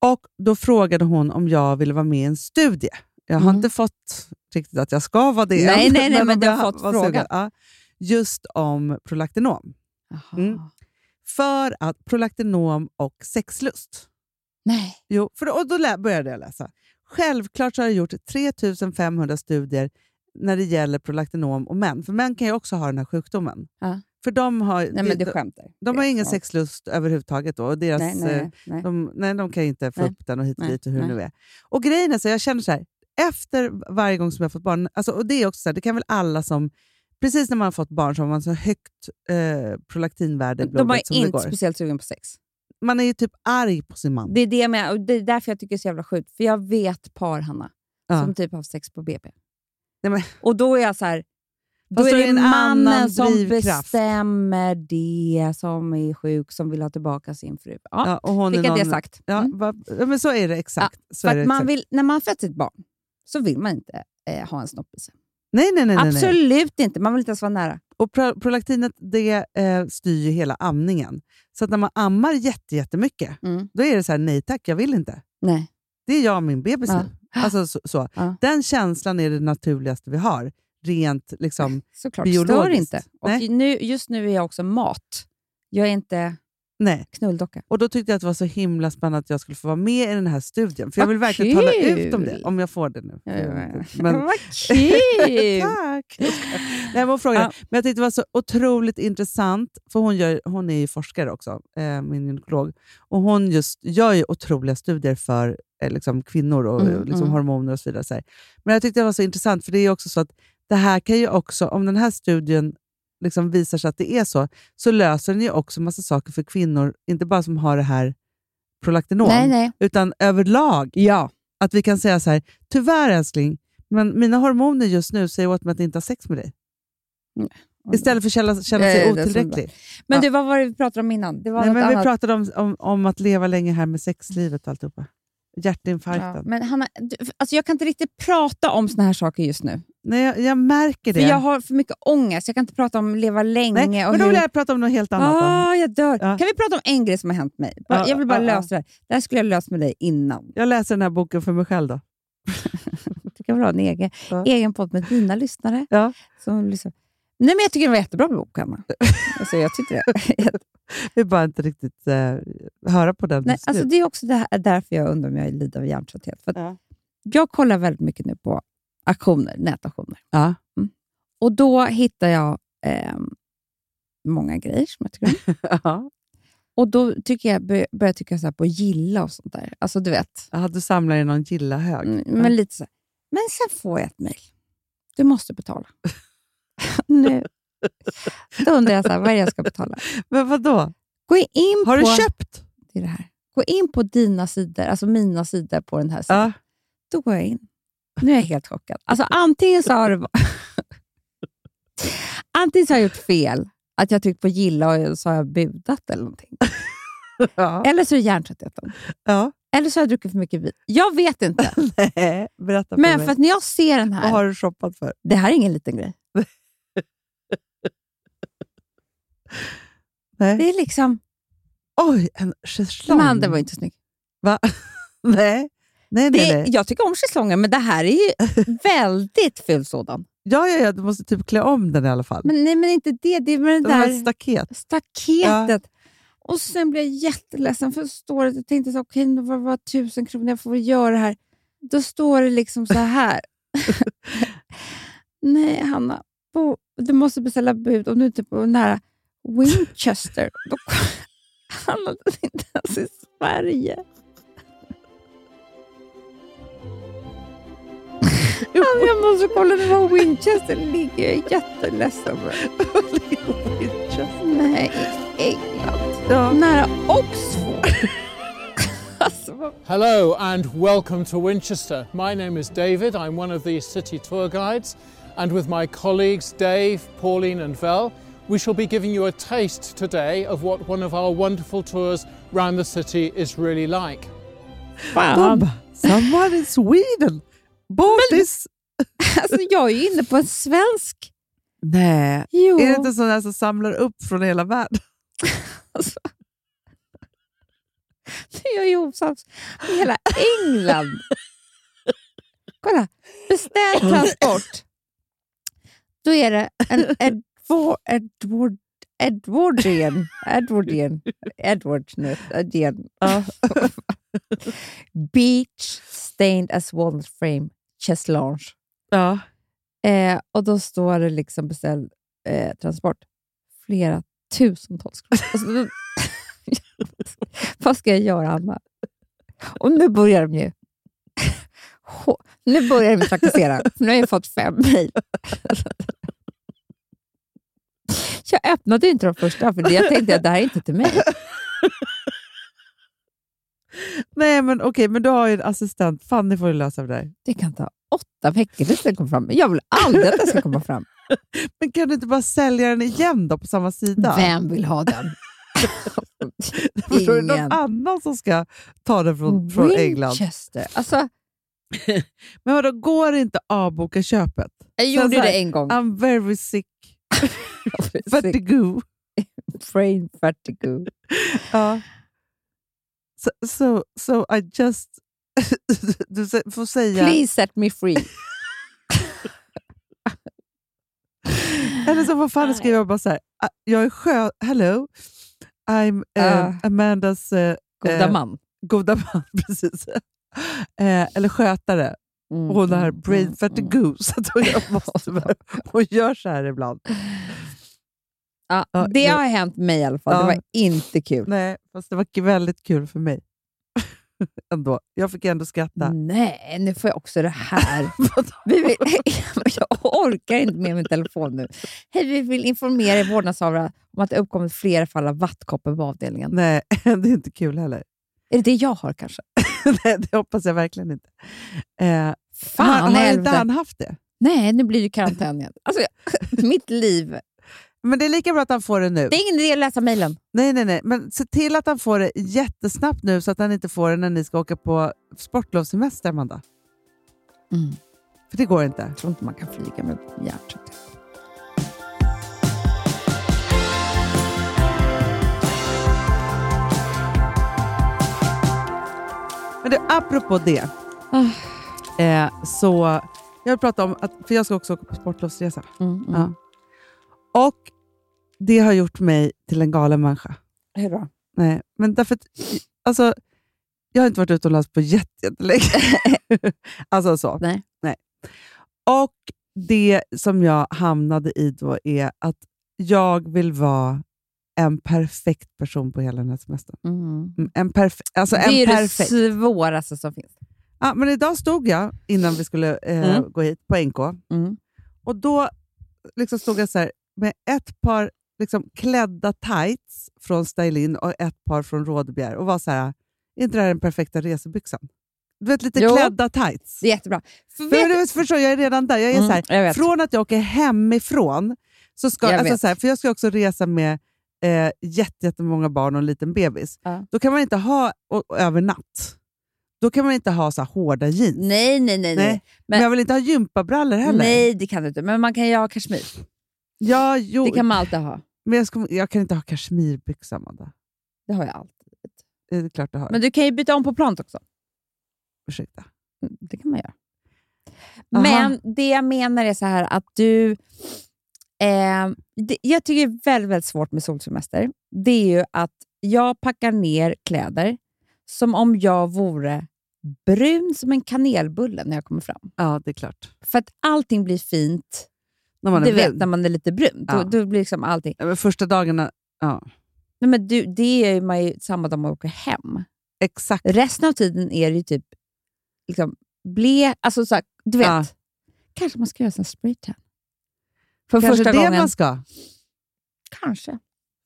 Speaker 2: Och Då frågade hon om jag ville vara med i en studie. Jag har
Speaker 3: Mm.
Speaker 2: inte fått riktigt att jag ska vara det än,
Speaker 3: Nej, nej, nej, men
Speaker 2: om
Speaker 3: du har
Speaker 2: jag
Speaker 3: fått
Speaker 2: var sugen.
Speaker 3: frågan.
Speaker 2: Ja, just om prolaktinom. Mm. För att prolaktinom och sexlust.
Speaker 3: Nej.
Speaker 2: Jo, för då, och då lä- började jag läsa. Självklart så har jag gjort 3500 studier när det gäller prolaktinom och män. För män kan ju också ha den här sjukdomen.
Speaker 3: Ja.
Speaker 2: För de har,
Speaker 3: Nej, men
Speaker 2: de,
Speaker 3: du skämtar.
Speaker 2: de har
Speaker 3: Det är
Speaker 2: ingen
Speaker 3: så.
Speaker 2: sexlust överhuvudtaget. Då, och deras,
Speaker 3: Nej,
Speaker 2: eh,
Speaker 3: nej, nej.
Speaker 2: De, nej, de kan ju inte få
Speaker 3: Nej.
Speaker 2: upp den och hit och
Speaker 3: Nej,
Speaker 2: dit och hur det
Speaker 3: nej.
Speaker 2: nu är. Och grejen är så, jag känner så här, efter varje gång som jag har fått barn, alltså, och det är också så här, det kan väl alla som, precis när man har fått barn så har man så högt eh, prolaktinvärde i
Speaker 3: De var
Speaker 2: blodet som det
Speaker 3: inte
Speaker 2: går.
Speaker 3: speciellt sugen på sex.
Speaker 2: Man är ju typ arg på sin man.
Speaker 3: Det är, det, med, och det är därför jag tycker det är så jävla sjukt. För jag vet par, Hanna,
Speaker 2: Ja.
Speaker 3: som typ har sex på BP.
Speaker 2: Nej, men-
Speaker 3: Och då är jag så här, då
Speaker 2: Fast
Speaker 3: är
Speaker 2: då
Speaker 3: det,
Speaker 2: är det en annan
Speaker 3: mannen som
Speaker 2: drivkraft.
Speaker 3: bestämmer det, som är sjuk, som vill ha tillbaka sin fru. Ja,
Speaker 2: Ja, och hon är
Speaker 3: fick jag det
Speaker 2: någon-
Speaker 3: sagt.
Speaker 2: Ja,
Speaker 3: Mm.
Speaker 2: va, ja, men så är det exakt. så
Speaker 3: För
Speaker 2: är det
Speaker 3: att man
Speaker 2: exakt.
Speaker 3: vill, när man föder sitt barn så vill man inte eh, ha en snopp i sig.
Speaker 2: nej, nej, nej, nej, nej.
Speaker 3: Absolut inte, man vill inte ens vara nära.
Speaker 2: Och pro, prolaktinet det, eh, styr ju hela amningen. Så att när man ammar jätte, jättemycket,
Speaker 3: Mm.
Speaker 2: då är det så här, nej tack, jag vill inte.
Speaker 3: Nej.
Speaker 2: Det är jag och min bebis
Speaker 3: Ja.
Speaker 2: nu. Alltså, så, så.
Speaker 3: Ja.
Speaker 2: Den känslan är det naturligaste vi har, rent liksom,
Speaker 3: Såklart, stör
Speaker 2: biologiskt.
Speaker 3: inte. Och
Speaker 2: Nej.
Speaker 3: nu, just nu är jag också mat. Jag är inte
Speaker 2: nej.
Speaker 3: knulldocka.
Speaker 2: Och Då tyckte jag att det var så himla spännande att jag skulle få vara med i den här studien. För jag
Speaker 3: Vad
Speaker 2: vill verkligen tala ut om det,
Speaker 3: kul!
Speaker 2: om jag får det nu.
Speaker 3: Ja, ja, ja.
Speaker 2: Men,
Speaker 3: Mm, Vad kul!
Speaker 2: Tack! Jag skojar. Nej, men, hon frågade.
Speaker 3: Ja.
Speaker 2: men jag tyckte det var så otroligt intressant, för hon, gör, hon är ju forskare också, eh, min gynekolog. Och hon just gör ju otroliga studier för eh, liksom, kvinnor och
Speaker 3: Mm,
Speaker 2: eh, liksom,
Speaker 3: mm.
Speaker 2: hormoner och så vidare. Så här. Men jag tyckte det var så intressant, för det är ju också så att det här kan ju också, om den här studien liksom visar sig att det är så, så löser den ju också massa saker för kvinnor, inte bara som har det här prolaktinom,
Speaker 3: nej, nej.
Speaker 2: utan överlag
Speaker 3: Ja.
Speaker 2: att vi kan säga så här, tyvärr älskling, men mina hormoner just nu säger åt mig att inte ha sex med dig. Istället för att känna, känna
Speaker 3: Nej, det
Speaker 2: sig
Speaker 3: är det som är
Speaker 2: otillräcklig.
Speaker 3: Men
Speaker 2: Ja.
Speaker 3: du, vad var det vi pratade om innan? Det var
Speaker 2: Nej,
Speaker 3: något
Speaker 2: men vi
Speaker 3: annat.
Speaker 2: pratade om, om, om att leva länge här med sexlivet och alltihopa. Hjärtinfarkten.
Speaker 3: ja. men Hanna, du, alltså jag kan inte riktigt prata om såna här saker just nu.
Speaker 2: Nej, jag, jag märker
Speaker 3: För
Speaker 2: det.
Speaker 3: jag har för mycket ångest. Jag kan inte prata om leva länge.
Speaker 2: Nej,
Speaker 3: och
Speaker 2: men då vill jag prata om något helt annat. då.
Speaker 3: Ah, jag dör.
Speaker 2: Ja.
Speaker 3: Kan vi prata om en grej som har hänt mig? Bara,
Speaker 2: Ja,
Speaker 3: jag vill bara
Speaker 2: ja, ja.
Speaker 3: lösa det här. Det här skulle jag löst med dig innan.
Speaker 2: Jag läser den här boken för mig själv då.
Speaker 3: Du kan väl ha en egen,
Speaker 2: Ja.
Speaker 3: egen podd med dina lyssnare.
Speaker 2: Ja.
Speaker 3: Som lyssnar. Nej, men jag tycker det var jättebra bok, Hanna. alltså, jag tyckte det.
Speaker 2: Vi bara inte riktigt eh, höra på den
Speaker 3: Nej,
Speaker 2: just
Speaker 3: alltså
Speaker 2: nu.
Speaker 3: det är också det här, därför jag undrar om jag lider av hjärntrötthet. För att
Speaker 2: Ja.
Speaker 3: Jag kollar väldigt mycket nu på auktioner, nätauktioner.
Speaker 2: Ja.
Speaker 3: Mm. Och då hittar jag ehm, många grejer som jag tycker
Speaker 2: Mm.
Speaker 3: om.
Speaker 2: Ja.
Speaker 3: Och då tycker jag, bör- börjar jag tycka så här på gilla och sånt där. Alltså du vet.
Speaker 2: Jaha, du samlar i någon gilla-hög.
Speaker 3: Mm, Men lite så här. Men sen får jag ett mejl. Du måste betala. nu. Då undrar jag så här, vad är det jag ska betala.
Speaker 2: Men vadå?
Speaker 3: Gå in
Speaker 2: Har
Speaker 3: på...
Speaker 2: du köpt?
Speaker 3: Det är det här. Gå in på dina sidor, alltså mina sidor på den här sidan.
Speaker 2: Ja.
Speaker 3: Då går jag in. Nu är jag helt chockad. Alltså, antingen så har det va- Antingen så har jag gjort fel, att jag tryckt på gilla och så har jag budat eller någonting.
Speaker 2: Ja.
Speaker 3: Eller så är det hjärntröttheten.
Speaker 2: ja.
Speaker 3: Eller så har jag druckit för mycket vin. Jag vet inte.
Speaker 2: Nej, berätta för
Speaker 3: Men
Speaker 2: mig.
Speaker 3: för att när jag ser den
Speaker 2: Vad
Speaker 3: här,
Speaker 2: har du shoppat för?
Speaker 3: det här är ingen liten grej.
Speaker 2: Nej.
Speaker 3: Det är liksom...
Speaker 2: Oj, en schäslong.
Speaker 3: Men den var ju inte snygg.
Speaker 2: Va? nej. Nej, nej,
Speaker 3: Det,
Speaker 2: nej.
Speaker 3: jag tycker om schäslonger, men det här är ju väldigt ful sådan.
Speaker 2: Ja, ja, ja, du måste typ klä om den i alla fall.
Speaker 3: Men nej, men inte det. Det är med det
Speaker 2: den här
Speaker 3: där
Speaker 2: staket.
Speaker 3: staketet. Och sen blev jag jätteledsen för då står det, jag tänkte så här, okej, nu var det bara tusen kronor, jag får väl göra det här. Då står det liksom så här. Nej, Hanna, bo, du måste beställa bud om du inte bor nära Winchester. Då handlade det inte ens i Sverige. Alltså, jag måste kolla nu var Winchester ligger. Jag är jätteledsen. Winchester? Nej, i England. Nära Oxford. alltså, vad
Speaker 4: Hello and welcome to Winchester. My name is David. I'm one of the city tour guides. And with my colleagues Dave, Pauline, and Val, we shall be giving you a taste today of what one of our wonderful tours round the city is really like.
Speaker 2: De
Speaker 3: fan.
Speaker 2: bara, someone in Sweden bought this.
Speaker 3: Alltså, jag är ju inne på en svensk.
Speaker 2: Nej.
Speaker 3: Jo.
Speaker 2: Är det inte sådana här som samlar upp från hela världen?
Speaker 3: Jag är ju osams med hela England. Kolla, beställ transport. Då är det en Edward, Edward, Edwardian, Edwardian, Edward nu, Edwardian. Beach stained as walnut frame, chest lounge.
Speaker 2: Ja.
Speaker 3: Eh, och då står det liksom beställd eh, transport. Flera tusentals kronor. Alltså, då- vad ska jag göra, Anna? Och nu börjar de ju. Hå- nu börjar de trakassera. Nu har jag fått fem mejl. Jag öppnade ju inte de första, för jag tänkte att det här är inte till mig.
Speaker 2: Nej, men okej, men du har ju en assistent. Fanny får ju lösa det där.
Speaker 3: Det kan ta åtta veckor tills den kommer fram. Jag vill aldrig att den ska komma fram.
Speaker 2: Men kan du inte bara sälja den igen då på samma sida?
Speaker 3: Vem vill ha den?
Speaker 2: Förstår du?
Speaker 3: Ingen.
Speaker 2: Någon annan som ska ta den från, från England.
Speaker 3: Winchester. Alltså,
Speaker 2: Men vadå, går det inte att avboka köpet?
Speaker 3: jag
Speaker 2: Sen
Speaker 3: gjorde
Speaker 2: så här,
Speaker 3: det en gång.
Speaker 2: I'm very sick.
Speaker 3: Mm. Sick
Speaker 2: Vertigo.
Speaker 3: brain vertigo.
Speaker 2: Ja. So, so, so I just... du sä- får säga...
Speaker 3: Please set me free.
Speaker 2: Eller så får Fanny skriva bara så här. "Ah, Jag är sjö... Hello. I'm eh,
Speaker 3: Ah.
Speaker 2: Amandas eh,
Speaker 3: Goda
Speaker 2: Eh,
Speaker 3: man.
Speaker 2: goda man. Precis. Eh, eller skötare.
Speaker 3: Mm,
Speaker 2: Och Hon har brain vertigo. Så att hon, jag måste, bara- hon gör så här ibland.
Speaker 3: Ja,
Speaker 2: Ja,
Speaker 3: det
Speaker 2: jag-
Speaker 3: har hänt mig i alla fall. Det
Speaker 2: Ja.
Speaker 3: var inte kul.
Speaker 2: Nej, fast det var k- väldigt kul för mig. ändå. Jag fick ändå skratta.
Speaker 3: Nej, nu får jag också det här. vi vill, jag orkar inte med min telefon nu. Hej, vi vill informera er vårdnadshavare om att det uppkommit flera fall av vattkoppor på avdelningen.
Speaker 2: Nej, det är inte kul heller.
Speaker 3: Är det det jag har kanske?
Speaker 2: Nej, det hoppas jag verkligen inte. Eh, har,
Speaker 3: Fan i
Speaker 2: har inte
Speaker 3: helvete.
Speaker 2: han haft det?
Speaker 3: Nej, nu blir det karantän igen. Alltså, jag- mitt liv.
Speaker 2: Men det är lika bra att han får det nu.
Speaker 3: Det är ingen idé att läsa mejlen.
Speaker 2: Nej, nej, nej. Men se till att han får det jättesnabbt nu så att han inte får det när ni ska åka på sportlovssemester, Amanda.
Speaker 3: Mm.
Speaker 2: För det går inte.
Speaker 3: Jag tror inte man kan flyga med hjärtat.
Speaker 2: Men du, apropå det. Eh, så jag vill prata om att, för jag ska också åka på sportlovsresa.
Speaker 3: Mm, mm.
Speaker 2: Ja. Och det har gjort mig till en galen människa.
Speaker 3: Hurra.
Speaker 2: Nej, men därför att, alltså, jag har inte varit utomlands på jätte- jättelänge. alltså så.
Speaker 3: Nej.
Speaker 2: Nej. Och det som jag hamnade i då är att jag vill vara en perfekt person på hela den här semestern. Mm, En perf- alltså en
Speaker 3: det är
Speaker 2: perfekt.
Speaker 3: det svåraste som finns.
Speaker 2: Ja, men idag stod jag, innan vi skulle eh,
Speaker 3: Mm.
Speaker 2: gå hit, på NK.
Speaker 3: Mm.
Speaker 2: Och då liksom stod jag så här, med ett par liksom, klädda tights från Stylin och ett par från Rådebjer och var så här, är inte det här den perfekta resebyxan? Du vet, lite
Speaker 3: Jo.
Speaker 2: klädda tights.
Speaker 3: Det är jättebra. För
Speaker 2: Men,
Speaker 3: vet,
Speaker 2: du vet, förstår, jag är redan där. Jag är
Speaker 3: Mm,
Speaker 2: så här,
Speaker 3: jag vet.
Speaker 2: från att jag åker hemifrån, så ska,
Speaker 3: Jag
Speaker 2: alltså
Speaker 3: vet.
Speaker 2: så här, för jag ska också resa med eh, jätte- jättemånga barn och en liten bebis,
Speaker 3: Ja.
Speaker 2: då kan man inte ha, och, och över natt, då kan man inte ha så här hårda jeans.
Speaker 3: nej, nej, nej.
Speaker 2: Nej,
Speaker 3: nej.
Speaker 2: Men,
Speaker 3: men-
Speaker 2: jag vill inte ha gympabrallor heller.
Speaker 3: Nej, det kan du inte. Men man kan ju ha kashmir.
Speaker 2: Ja, jo,
Speaker 3: Det kan man alltid ha.
Speaker 2: Men jag, ska, jag kan inte ha kashmirbyxa, Amanda.
Speaker 3: Det har jag alltid.
Speaker 2: Det är klart du har.
Speaker 3: Men du kan ju byta om på plant också.
Speaker 2: Ursäkta.
Speaker 3: Mm, Det kan man göra.
Speaker 2: Aha.
Speaker 3: Men det jag menar är så här att du... Eh, det, jag tycker det är väldigt, väldigt svårt med solsemester. Det är ju att jag packar ner kläder som om jag vore brun som en kanelbulle när jag kommer fram.
Speaker 2: Ja, det är klart.
Speaker 3: För att allting blir fint
Speaker 2: När man
Speaker 3: du
Speaker 2: är
Speaker 3: vet,
Speaker 2: brun.
Speaker 3: när man är lite brun.
Speaker 2: Ja.
Speaker 3: Då, då blir liksom allting...
Speaker 2: Ja, men Första dagarna, ja.
Speaker 3: Nej, men du, det är ju man ju samma dag man åker hem.
Speaker 2: Exakt.
Speaker 3: Resten av tiden är det ju typ liksom, ble... Alltså, så här, du vet.
Speaker 2: Ja.
Speaker 3: Kanske man ska göra en spraytan. För
Speaker 2: Kanske
Speaker 3: första
Speaker 2: det
Speaker 3: gången.
Speaker 2: man ska.
Speaker 3: Kanske.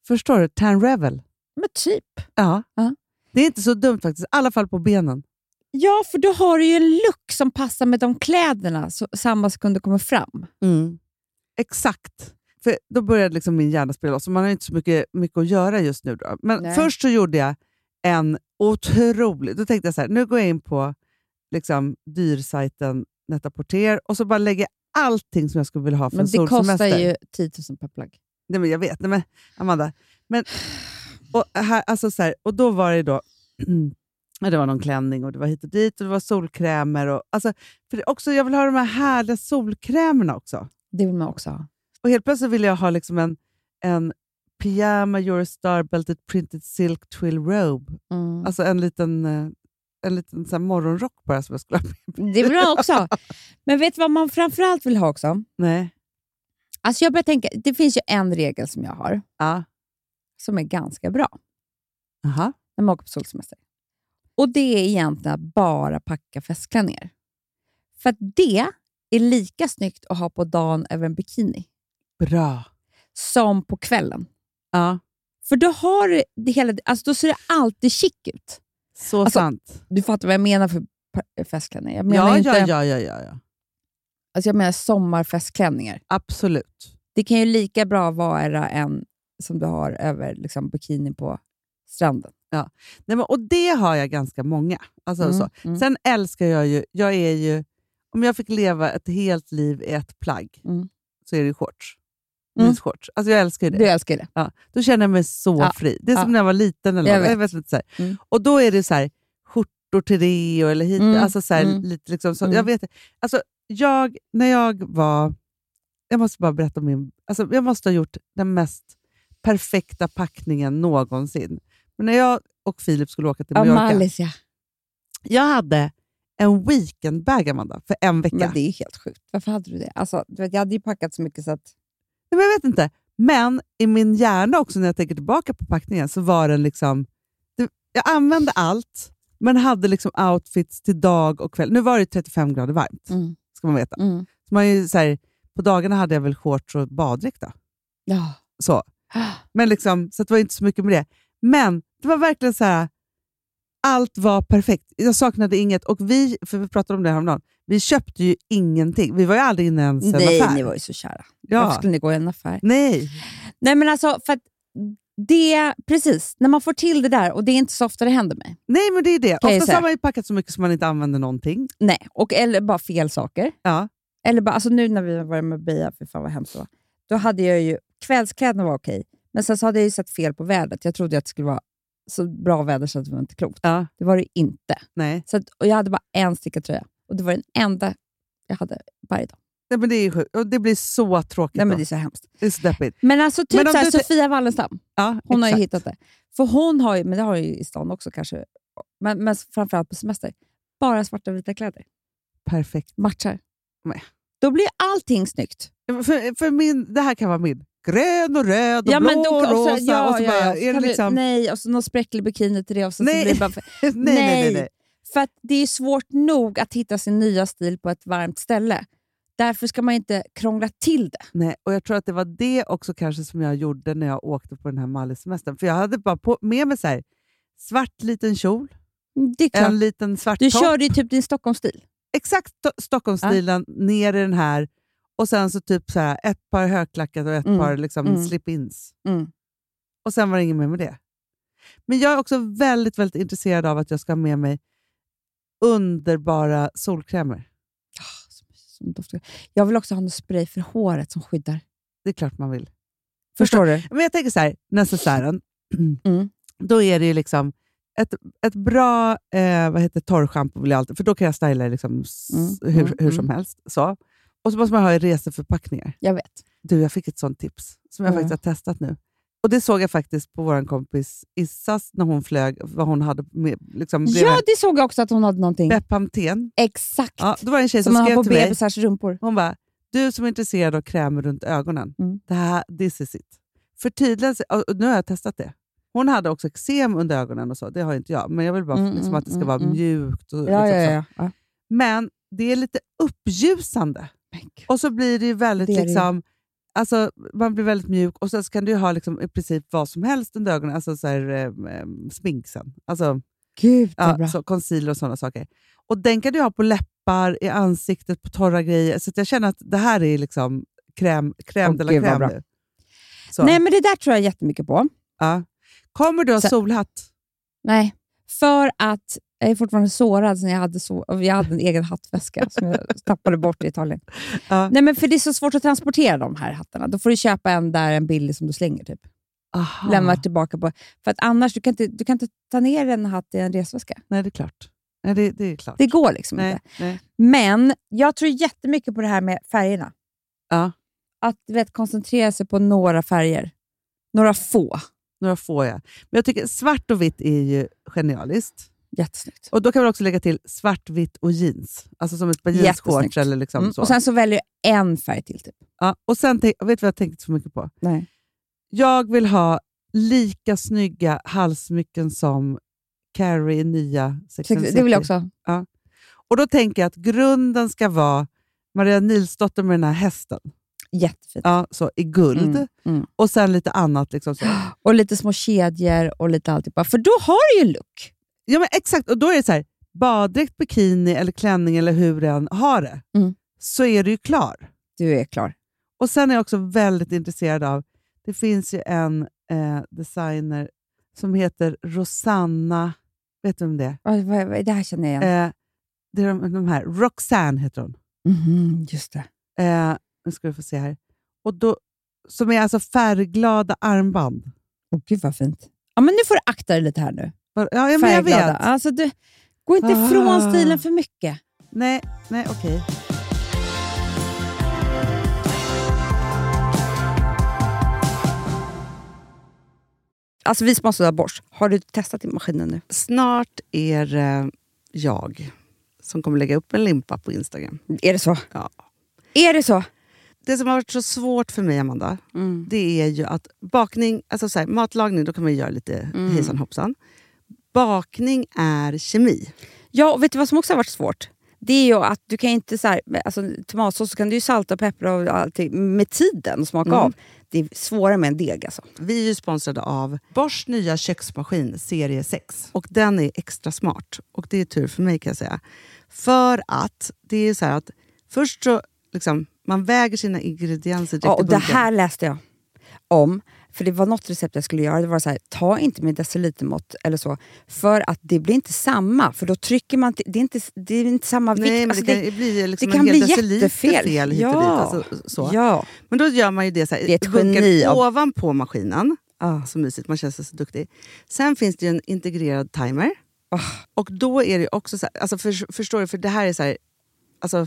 Speaker 2: Förstår du? Tan revel.
Speaker 3: Men typ.
Speaker 2: Ja.
Speaker 3: Ja.
Speaker 2: Det är inte så dumt faktiskt. I alla fall på benen.
Speaker 3: Ja, för då har du ju en look som passar med de kläderna så, samma sekund du kommer fram.
Speaker 2: Exakt. För då började liksom min hjärna spela loss. och Man har ju inte så mycket, mycket att göra just nu. Då. Men
Speaker 3: Nej.
Speaker 2: först så gjorde jag en otrolig... Då tänkte jag så här, nu går jag in på liksom, dyrsajten Net-a-Porter och så bara lägger jag allting som jag skulle vilja ha för
Speaker 3: Men
Speaker 2: en
Speaker 3: det kostar
Speaker 2: solsemester.
Speaker 3: ju 10 000 per plagg.
Speaker 2: Nej, men jag vet. Nej, men Amanda. Men, och, här, alltså så här, och då var det då... ja, Det var någon klänning och det var hit och dit och det var solkrämer. Och, alltså, för det- också, jag vill ha de här härliga solkrämerna också.
Speaker 3: Det vill man också ha.
Speaker 2: Och helt plötsligt ville jag ha liksom en, en pyjama Eurostar belted printed silk twill robe.
Speaker 3: Mm.
Speaker 2: Alltså en liten, eh, en liten så här morgonrock bara som jag skulle ha på mig.
Speaker 3: Det vill man också ha. Men vet du vad man framförallt vill ha också?
Speaker 2: Nej.
Speaker 3: Alltså jag börjar tänka, det finns ju en regel som jag har
Speaker 2: Ja.
Speaker 3: som är ganska bra
Speaker 2: Aha.
Speaker 3: när man åker på solsemester. Och det är egentligen att bara packa festklänningar. För att det är lika snyggt att ha på dagen över en bikini
Speaker 2: Bra.
Speaker 3: som på kvällen.
Speaker 2: Ja.
Speaker 3: För då, har du det hela, alltså då ser det alltid chic ut.
Speaker 2: Så
Speaker 3: Alltså,
Speaker 2: sant.
Speaker 3: Du fattar vad jag menar för pa- festklänningar. Jag menar,
Speaker 2: Ja,
Speaker 3: inte,
Speaker 2: ja, ja, ja, ja, ja.
Speaker 3: Alltså jag menar sommarfestklänningar.
Speaker 2: Absolut.
Speaker 3: Det kan ju lika bra vara en som du har över liksom, bikini på stranden.
Speaker 2: Nej, men, och det har jag ganska många. Alltså,
Speaker 3: Mm,
Speaker 2: så.
Speaker 3: mm.
Speaker 2: Sen älskar jag ju, jag är ju, om jag fick leva ett helt liv i ett plagg
Speaker 3: Mm.
Speaker 2: så är det ju shorts.
Speaker 3: Mm.
Speaker 2: Jeansshorts. Alltså jag älskar ju det.
Speaker 3: Du älskar det.
Speaker 2: Ja, då känner jag mig så
Speaker 3: Ja,
Speaker 2: fri. Det är som
Speaker 3: ja.
Speaker 2: när jag var liten. Eller
Speaker 3: Jag
Speaker 2: jag vet.
Speaker 3: vet.
Speaker 2: Jag vet inte, så här.
Speaker 3: Mm.
Speaker 2: Och då är det så här, skjortor till det och, eller hit.
Speaker 3: Mm,
Speaker 2: Alltså, så här,
Speaker 3: mm.
Speaker 2: lite liksom, så,
Speaker 3: Mm.
Speaker 2: jag vet, inte. alltså, jag, när jag var... Jag måste bara berätta om min... Alltså, jag måste ha gjort den mest perfekta packningen någonsin. Men när jag och Filip skulle åka till Mallorca.
Speaker 3: Amalis, ja.
Speaker 2: Jag hade en weekendbag, Amanda, för en vecka.
Speaker 3: Men det är helt sjukt. Varför hade du det? Alltså, du vet, jag hade ju packat så mycket så att...
Speaker 2: Nej, men jag vet inte. Men i min hjärna också, när jag tänker tillbaka på packningen, så var den liksom... det- Jag använde allt, men hade liksom outfits till dag och kväll. Nu var det 35 grader varmt,
Speaker 3: Mm.
Speaker 2: ska man veta. Så man är ju så här, på dagarna hade jag väl shorts och baddräkt. då.
Speaker 3: Ja.
Speaker 2: Så. Men liksom, så att det var inte så mycket med det. Men det var verkligen så här, allt var perfekt. Jag saknade inget. Och vi, för vi pratade om det häromdagen, vi köpte ju ingenting. Vi var ju aldrig inne ens i en
Speaker 3: Nej,
Speaker 2: affär.
Speaker 3: ni var ju så kära. Varför
Speaker 2: ja.
Speaker 3: skulle ni gå i en affär?
Speaker 2: Nej.
Speaker 3: Nej, men alltså, för att det... Precis, när man får till det där, och det är inte så ofta det händer mig.
Speaker 2: Nej, men det är det.
Speaker 3: Kan jag
Speaker 2: Oftast
Speaker 3: säga.
Speaker 2: har man ju packat så mycket som man inte använder någonting.
Speaker 3: Nej, och, eller bara fel saker.
Speaker 2: Ja.
Speaker 3: Eller bara, alltså nu när vi var med Bea, för fan vad hemskt det var. Då hade jag ju, kvällskläderna var okej, men sen så hade jag ju sett fel på vädret. Jag trodde ju att det skulle vara så bra väder så att det var inte klokt.
Speaker 2: Ja.
Speaker 3: Det var det ju inte.
Speaker 2: Nej.
Speaker 3: Så att, och jag hade bara en stickad tröja och det var den enda jag hade varje dag.
Speaker 2: Nej, men det är ju sjukt. Och det blir så tråkigt.
Speaker 3: Nej, men
Speaker 2: då.
Speaker 3: det är så hemskt.
Speaker 2: det är så deppigt.
Speaker 3: Men alltså typ
Speaker 2: Men om
Speaker 3: så här,
Speaker 2: du-
Speaker 3: Sofia Wallenstam,
Speaker 2: Ja,
Speaker 3: hon har ju
Speaker 2: exakt.
Speaker 3: hittat det. För hon har ju, men det har hon ju i stan också kanske, men, men framförallt på semester, bara svarta och vita kläder.
Speaker 2: Perfekt.
Speaker 3: Matchar.
Speaker 2: Nej.
Speaker 3: Då blir allting snyggt.
Speaker 2: För, för min, det här kan vara min. Grön och röd och blå
Speaker 3: men då-
Speaker 2: och
Speaker 3: så-
Speaker 2: rosa.
Speaker 3: ja,
Speaker 2: och så
Speaker 3: ja,
Speaker 2: bara,
Speaker 3: ja. Så
Speaker 2: är det
Speaker 3: kan du-
Speaker 2: liksom...
Speaker 3: Nej, och så någon spräcklig bikini till det. Och så,
Speaker 2: Nej.
Speaker 3: Så blir det bara för,
Speaker 2: nej, nej, nej, nej.
Speaker 3: För att det är svårt nog att hitta sin nya stil på ett varmt ställe. Därför ska man inte krångla till det.
Speaker 2: Nej, och jag tror att det var det också kanske som jag gjorde när jag åkte på den här Malisemestern. För jag hade bara på, med mig så här, svart liten kjol,
Speaker 3: Det är klart.
Speaker 2: en liten svart
Speaker 3: Du
Speaker 2: topp.
Speaker 3: körde ju typ din Stockholmsstil.
Speaker 2: Exakt to- Stockholmsstilen, ner i den här. Och sen så typ så här, ett par högklackat och ett
Speaker 3: Mm,
Speaker 2: par liksom
Speaker 3: mm.
Speaker 2: slip-ins.
Speaker 3: Mm.
Speaker 2: Och sen var det inget mer med det. Men jag är också väldigt, väldigt intresserad av att jag ska ha med mig underbara solkrämer.
Speaker 3: Som doftar. Jag vill också ha en spray för håret som skyddar.
Speaker 2: Det är klart man vill.
Speaker 3: Förstår du?
Speaker 2: Men jag tänker så här, necessären.
Speaker 3: Mm.
Speaker 2: Då är det ju liksom ett, ett bra eh, vad heter det, torrschampo, vill jag alltid, för då kan jag styla det liksom s-
Speaker 3: Mm,
Speaker 2: hur,
Speaker 3: mm,
Speaker 2: hur som helst. Så. Och så måste man ha i reseförpackningar.
Speaker 3: Jag vet.
Speaker 2: Du, jag fick ett sånt tips som jag
Speaker 3: Mm.
Speaker 2: faktiskt har testat nu. Och Det såg jag faktiskt på vår kompis Issas när hon flög, vad hon hade med, liksom, bredvid.
Speaker 3: Ja, det såg jag också att hon hade någonting.
Speaker 2: Bepp Hamtén.
Speaker 3: Exakt.
Speaker 2: Ja, då var det en tjej
Speaker 3: som
Speaker 2: som,
Speaker 3: man har
Speaker 2: skrev
Speaker 3: på
Speaker 2: till mig.
Speaker 3: bebisars rumpor.
Speaker 2: Hon bara, du som är intresserad av krämer runt ögonen,
Speaker 3: Mm.
Speaker 2: det här, this is it. Förtydliga sig, och nu har jag testat det. Hon hade också eksem under ögonen och så, det har ju inte jag, men jag vill bara
Speaker 3: Mm,
Speaker 2: liksom
Speaker 3: mm,
Speaker 2: att det ska
Speaker 3: mm,
Speaker 2: vara
Speaker 3: mm.
Speaker 2: mjukt. Och,
Speaker 3: Ja,
Speaker 2: liksom
Speaker 3: ja,
Speaker 2: så.
Speaker 3: ja. ja.
Speaker 2: Men det är lite uppljusande
Speaker 3: Men gud.
Speaker 2: och så blir det ju väldigt
Speaker 3: Det är det ju.
Speaker 2: liksom, Alltså, man blir väldigt mjuk och sen så kan du ju ha liksom, i princip vad som helst under ögonen, alltså så här, eh, eh, sminksen. Alltså,
Speaker 3: Gud, vad
Speaker 2: Ja,
Speaker 3: bra.
Speaker 2: så concealer och sådana saker. Och Den kan du ha på läppar, i ansiktet, på torra grejer. Så att jag känner att det här är liksom crème, crème
Speaker 3: Åh,
Speaker 2: de la
Speaker 3: gud, vad bra.
Speaker 2: crème nu. Så,
Speaker 3: Nej, men det där tror jag jättemycket på.
Speaker 2: ja. Kommer du ha
Speaker 3: Så-
Speaker 2: solhatt?
Speaker 3: Nej, för att jag är fortfarande sårad sen jag hade, så, jag hade en egen hattväska som jag tappade bort i Italien.
Speaker 2: Ja.
Speaker 3: Nej, men för Det är så svårt att transportera de här hattarna. Då får du köpa en där, en billig som du slänger. typ.
Speaker 2: Aha.
Speaker 3: Lämnar tillbaka på. För att annars, du kan, inte, du kan inte ta ner en hatt i en resväska.
Speaker 2: Nej, det är klart. Nej, det, det är klart.
Speaker 3: Det går liksom
Speaker 2: nej,
Speaker 3: inte.
Speaker 2: nej.
Speaker 3: Men jag tror jättemycket på det här med färgerna.
Speaker 2: Ja.
Speaker 3: Att du vet, koncentrera sig på några färger. Några få.
Speaker 2: Några får jag. Men jag tycker svart och vitt är ju genialiskt.
Speaker 3: Jättesnyggt.
Speaker 2: Och Då kan man också lägga till svart, vitt och jeans. Alltså som ett par
Speaker 3: Jättesnyggt.
Speaker 2: jeansshorts eller liksom
Speaker 3: Mm.
Speaker 2: så.
Speaker 3: Och sen så väljer du en färg till. Typ.
Speaker 2: ja. och sen tänk, vet du vad jag har tänkt så mycket på?
Speaker 3: Nej.
Speaker 2: Jag vill ha lika snygga halsmycken som Carrie i nya Sex and
Speaker 3: Det vill jag
Speaker 2: City.
Speaker 3: också.
Speaker 2: Och då tänker jag att grunden ska vara Maria Nilsdotter med den här hästen
Speaker 3: Jättefint.
Speaker 2: ja, så, i guld.
Speaker 3: Mm, mm.
Speaker 2: Och sen lite annat. Liksom så.
Speaker 3: Och lite små kedjor och lite alltihopa. För då har du ju look.
Speaker 2: Ja, men exakt. Och då är det så här, baddräkt, bikini eller klänning eller hur den har det,
Speaker 3: Mm.
Speaker 2: så är du ju klar.
Speaker 3: Du är klar.
Speaker 2: Och sen är jag också väldigt intresserad av, det finns ju en eh, designer som heter Rosanna, vet du vem det är?
Speaker 3: Oj, vad- vad- Det här känner jag igen.
Speaker 2: Eh, det är de, de här. Roxanne heter hon.
Speaker 3: Mhm, just det.
Speaker 2: Eh, nu ska du få se här. Och då, som är alltså färgglada armband.
Speaker 3: Åh, gud vad fint. Ja, men nu får du akta dig lite här nu.
Speaker 2: Var- Ja, ja, men jag vet.
Speaker 3: Alltså, du, gå inte
Speaker 2: Ah.
Speaker 3: ifrån stilen för mycket.
Speaker 2: Nej, nej okej.
Speaker 3: Alltså, vi som har sådär borst, har du testat i maskinen nu?
Speaker 2: Snart är eh, jag som kommer lägga upp en limpa på Instagram.
Speaker 3: Är det så?
Speaker 2: Ja.
Speaker 3: Är det så?
Speaker 2: Det som har varit så svårt för mig, Amanda, det är ju att bakning, alltså så här, matlagning, då kan man ju göra lite hejsan hoppsan. Bakning är kemi.
Speaker 3: Ja, och vet du vad som också har varit svårt? Det är ju att du kan inte så här, alltså, tomatsås så kan du ju salta och peppra och allting med tiden och smaka av. Det är svårare med en deg alltså.
Speaker 2: Vi är ju sponsrade av Bors nya köksmaskin serie 6. Och den är extra smart. Och det är tur för mig kan jag säga. För att det är så här att först så liksom, man väger sina ingredienser direkt
Speaker 3: Ja, och
Speaker 2: i
Speaker 3: det
Speaker 2: bunken.
Speaker 3: här läste jag om. För det var något recept jag skulle göra. Det var så här, ta inte med decilitermått eller så. För att det blir inte samma. För då trycker man... till- Det är inte, det är inte samma vikt.
Speaker 2: Nej, men
Speaker 3: Alltså,
Speaker 2: det kan ju bli liksom
Speaker 3: det kan
Speaker 2: en hel
Speaker 3: bli
Speaker 2: deciliter
Speaker 3: jättefel.
Speaker 2: fel hit och dit.
Speaker 3: Ja.
Speaker 2: Alltså, så.
Speaker 3: Ja.
Speaker 2: Men då gör man ju det så här,
Speaker 3: Det är ett
Speaker 2: i bunken
Speaker 3: geni av-
Speaker 2: ovanpå maskinen.
Speaker 3: Ah.
Speaker 2: Så mysigt, man känns så duktig. Sen finns det ju en integrerad timer.
Speaker 3: Ah.
Speaker 2: Och då är det ju också så här, alltså för, förstår du, för det här är så här, alltså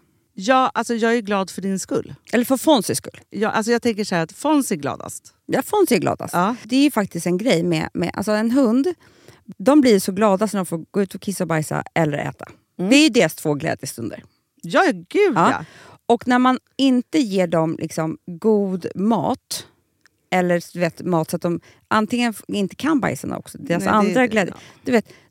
Speaker 2: Ja, alltså jag är glad för din skull.
Speaker 3: Eller för Fonzys skull.
Speaker 2: Ja, alltså jag tänker så här att Fons är gladast.
Speaker 3: Ja, Fonzie är gladast.
Speaker 2: Ja.
Speaker 3: alltså. Det är ju faktiskt en grej med, med alltså en hund. De blir så glada när de får gå ut och kissa och bajsa eller äta.
Speaker 2: Mm.
Speaker 3: Det är ju deras två glädjestunder.
Speaker 2: Ja, gud ja.
Speaker 3: Ja. Och när man inte ger dem liksom god mat, eller du vet, mat så att de antingen f- inte kan bajsarna också, deras
Speaker 2: Nej, det-
Speaker 3: andra
Speaker 2: det-
Speaker 3: glädje,
Speaker 2: ja.
Speaker 3: du vet,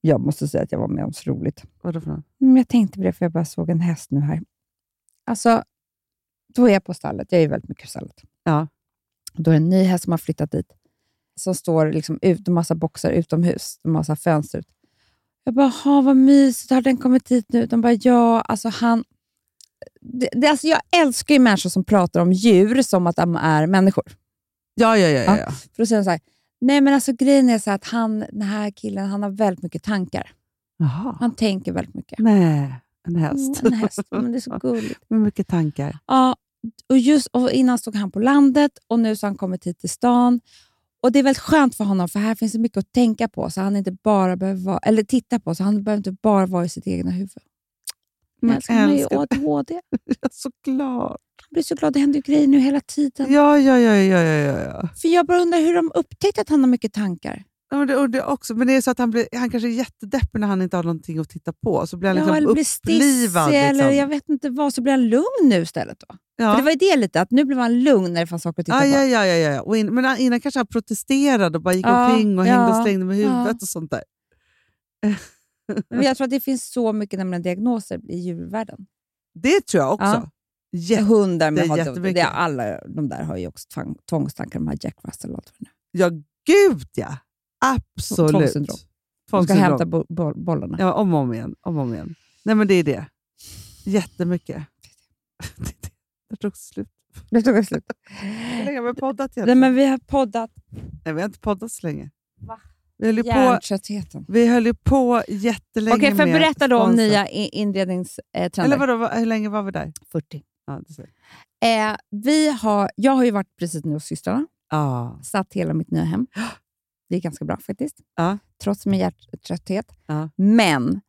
Speaker 3: Jag måste säga att jag var med om så roligt.
Speaker 2: Vadå för något?
Speaker 3: Men jag tänkte på det för jag bara såg en häst nu här. Alltså, då är jag på stallet. Jag är ju väldigt mycket på stallet.
Speaker 2: Ja.
Speaker 3: Då är det en ny häst som har flyttat dit. Som står liksom ut, de har massa boxar utomhus. De har massa fönster ut. Jag bara, "Ha, vad mysigt. Har den kommit dit nu? De bara, ja. Alltså han... Det, det, alltså jag älskar ju människor som pratar om djur som att de är människor.
Speaker 2: Ja, ja, ja. ja, ja.
Speaker 3: För då säger de så här, nej men alltså grejen är så här att han, den här killen, han har väldigt mycket tankar.
Speaker 2: Jaha.
Speaker 3: Han tänker väldigt mycket.
Speaker 2: Nej, en häst.
Speaker 3: Mm, en häst. Men det är så gulligt.
Speaker 2: Med mycket tankar.
Speaker 3: Ja, och just och innan stod han på landet och nu så har han kommit hit till stan. Och Det är väldigt skönt för honom, för här finns det mycket att tänka på, så han inte bara behöver vara, eller titta på, så han behöver inte bara vara i sitt egna huvud. Men
Speaker 2: Men
Speaker 3: älskar, han har ju
Speaker 2: älskar-
Speaker 3: ADHD. Han
Speaker 2: Ja, Såklart.
Speaker 3: blir så glad, det händer ju grejer nu hela tiden.
Speaker 2: Ja, ja, ja, ja, ja, ja, ja.
Speaker 3: För Jag bara undrar hur de upptäckte att han har mycket tankar.
Speaker 2: Ja, men det undrar jag också. Men det är så att han, blir, han kanske är jättedeppig när han inte har någonting att titta på. Så blir han
Speaker 3: ja,
Speaker 2: liksom
Speaker 3: eller blir
Speaker 2: upplivad.
Speaker 3: stissig, eller
Speaker 2: liksom.
Speaker 3: jag vet inte vad, så blir han lugn nu istället. Då.
Speaker 2: ja.
Speaker 3: För Det var ju det lite, att nu blev han lugn när det fanns saker att titta
Speaker 2: ja,
Speaker 3: på.
Speaker 2: ja, ja, ja, ja. Och in, men han- innan kanske han protesterade och bara gick
Speaker 3: Ja,
Speaker 2: omkring och hängde och
Speaker 3: ja,
Speaker 2: slängde med huvudet
Speaker 3: ja.
Speaker 2: och sånt där.
Speaker 3: Men jag tror att det finns så mycket nämligen, diagnoser i djurvärlden.
Speaker 2: Det tror jag också.
Speaker 3: Ja.
Speaker 2: Ja.
Speaker 3: hundar
Speaker 2: det är
Speaker 3: med hat-
Speaker 2: jättemycket.
Speaker 3: det är alla de där har ju också tvång, tvångstankar, de här Jack Russell och allt vad det nu är.
Speaker 2: ja, gud ja. Absolut.
Speaker 3: Tvångssyndrom. De ska
Speaker 2: Fondsyndrom.
Speaker 3: hämta bo- bo- bollarna.
Speaker 2: Ja, om och om igen. Om och om igen. Nej, men det är det. Jättemycket. Det tog slut.
Speaker 3: Det tog slut.
Speaker 2: Hur länge har vi poddat
Speaker 3: Nej,
Speaker 2: egentligen?
Speaker 3: men vi har poddat
Speaker 2: Nej, vi har inte poddat så länge. Vi höll ju på,
Speaker 3: hjärntröttheten.
Speaker 2: vi höll ju på jättelänge
Speaker 3: Okej, för
Speaker 2: med
Speaker 3: berätta då om
Speaker 2: sponsor.
Speaker 3: nya i- eh, inredningstrender.
Speaker 2: Eller vadå, vad- hur länge var vi där?
Speaker 3: 40.
Speaker 2: Ja, det ser.
Speaker 3: Eh, vi har, jag har ju varit precis nu hos systrarna,
Speaker 2: Ja.
Speaker 3: satt hela mitt nya hem. Det är ganska bra faktiskt,
Speaker 2: Ja.
Speaker 3: trots min hjärttrötthet.
Speaker 2: Ja.
Speaker 3: Men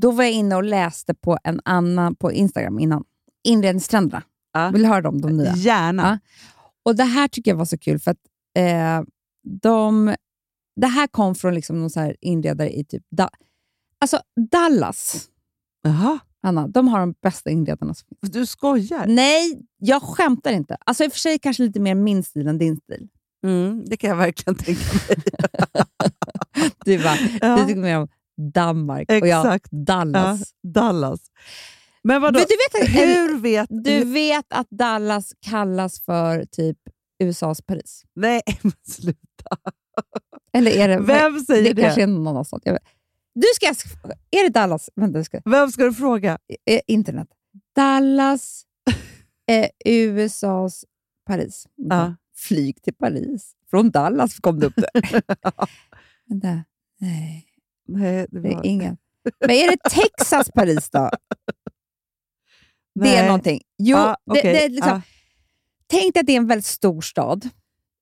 Speaker 3: då var jag inne och läste på en annan på Instagram innan. Inredningstrenderna.
Speaker 2: Ja.
Speaker 3: Vill du höra dem, de nya?
Speaker 2: Gärna.
Speaker 3: Ja. Och Det här tycker jag var så kul, för att eh, de, det här kom från liksom någon så här inredare i typ da, alltså Dallas.
Speaker 2: Jaha,
Speaker 3: Anna, de har de bästa inredarna som finns.
Speaker 2: du skojar?
Speaker 3: Nej, jag skämtar inte. Alltså I och för sig kanske lite mer min stil än din stil.
Speaker 2: Mm, det kan jag verkligen tänka mig.
Speaker 3: Du bara,
Speaker 2: Ja.
Speaker 3: du tycker mer om Danmark och jag
Speaker 2: Exakt.
Speaker 3: Dallas.
Speaker 2: Ja, Dallas. Men vadå,
Speaker 3: Men du, vet att,
Speaker 2: hur vet
Speaker 3: du vet att Dallas kallas för typ USAs Paris?
Speaker 2: Nej, men sluta.
Speaker 3: Eller är det...
Speaker 2: Vem säger
Speaker 3: det
Speaker 2: det?
Speaker 3: kanske är någon annanstans. Jag vet. Du ska... Är det Dallas? Vänta, du ska...
Speaker 2: Vem ska du fråga?
Speaker 3: eh, internet. Dallas, eh, USAs Paris.
Speaker 2: Ja.
Speaker 3: Flyg till Paris. Från Dallas kom det upp det. Vänta. Nej,
Speaker 2: Nej, det
Speaker 3: det är
Speaker 2: var...
Speaker 3: ingen. Men är det Texas Paris då? Det är
Speaker 2: Nej.
Speaker 3: någonting. Jo,
Speaker 2: Ja,
Speaker 3: det,
Speaker 2: okej. Ah.
Speaker 3: det är liksom,
Speaker 2: Ja,
Speaker 3: Tänk dig att det är en väldigt stor stad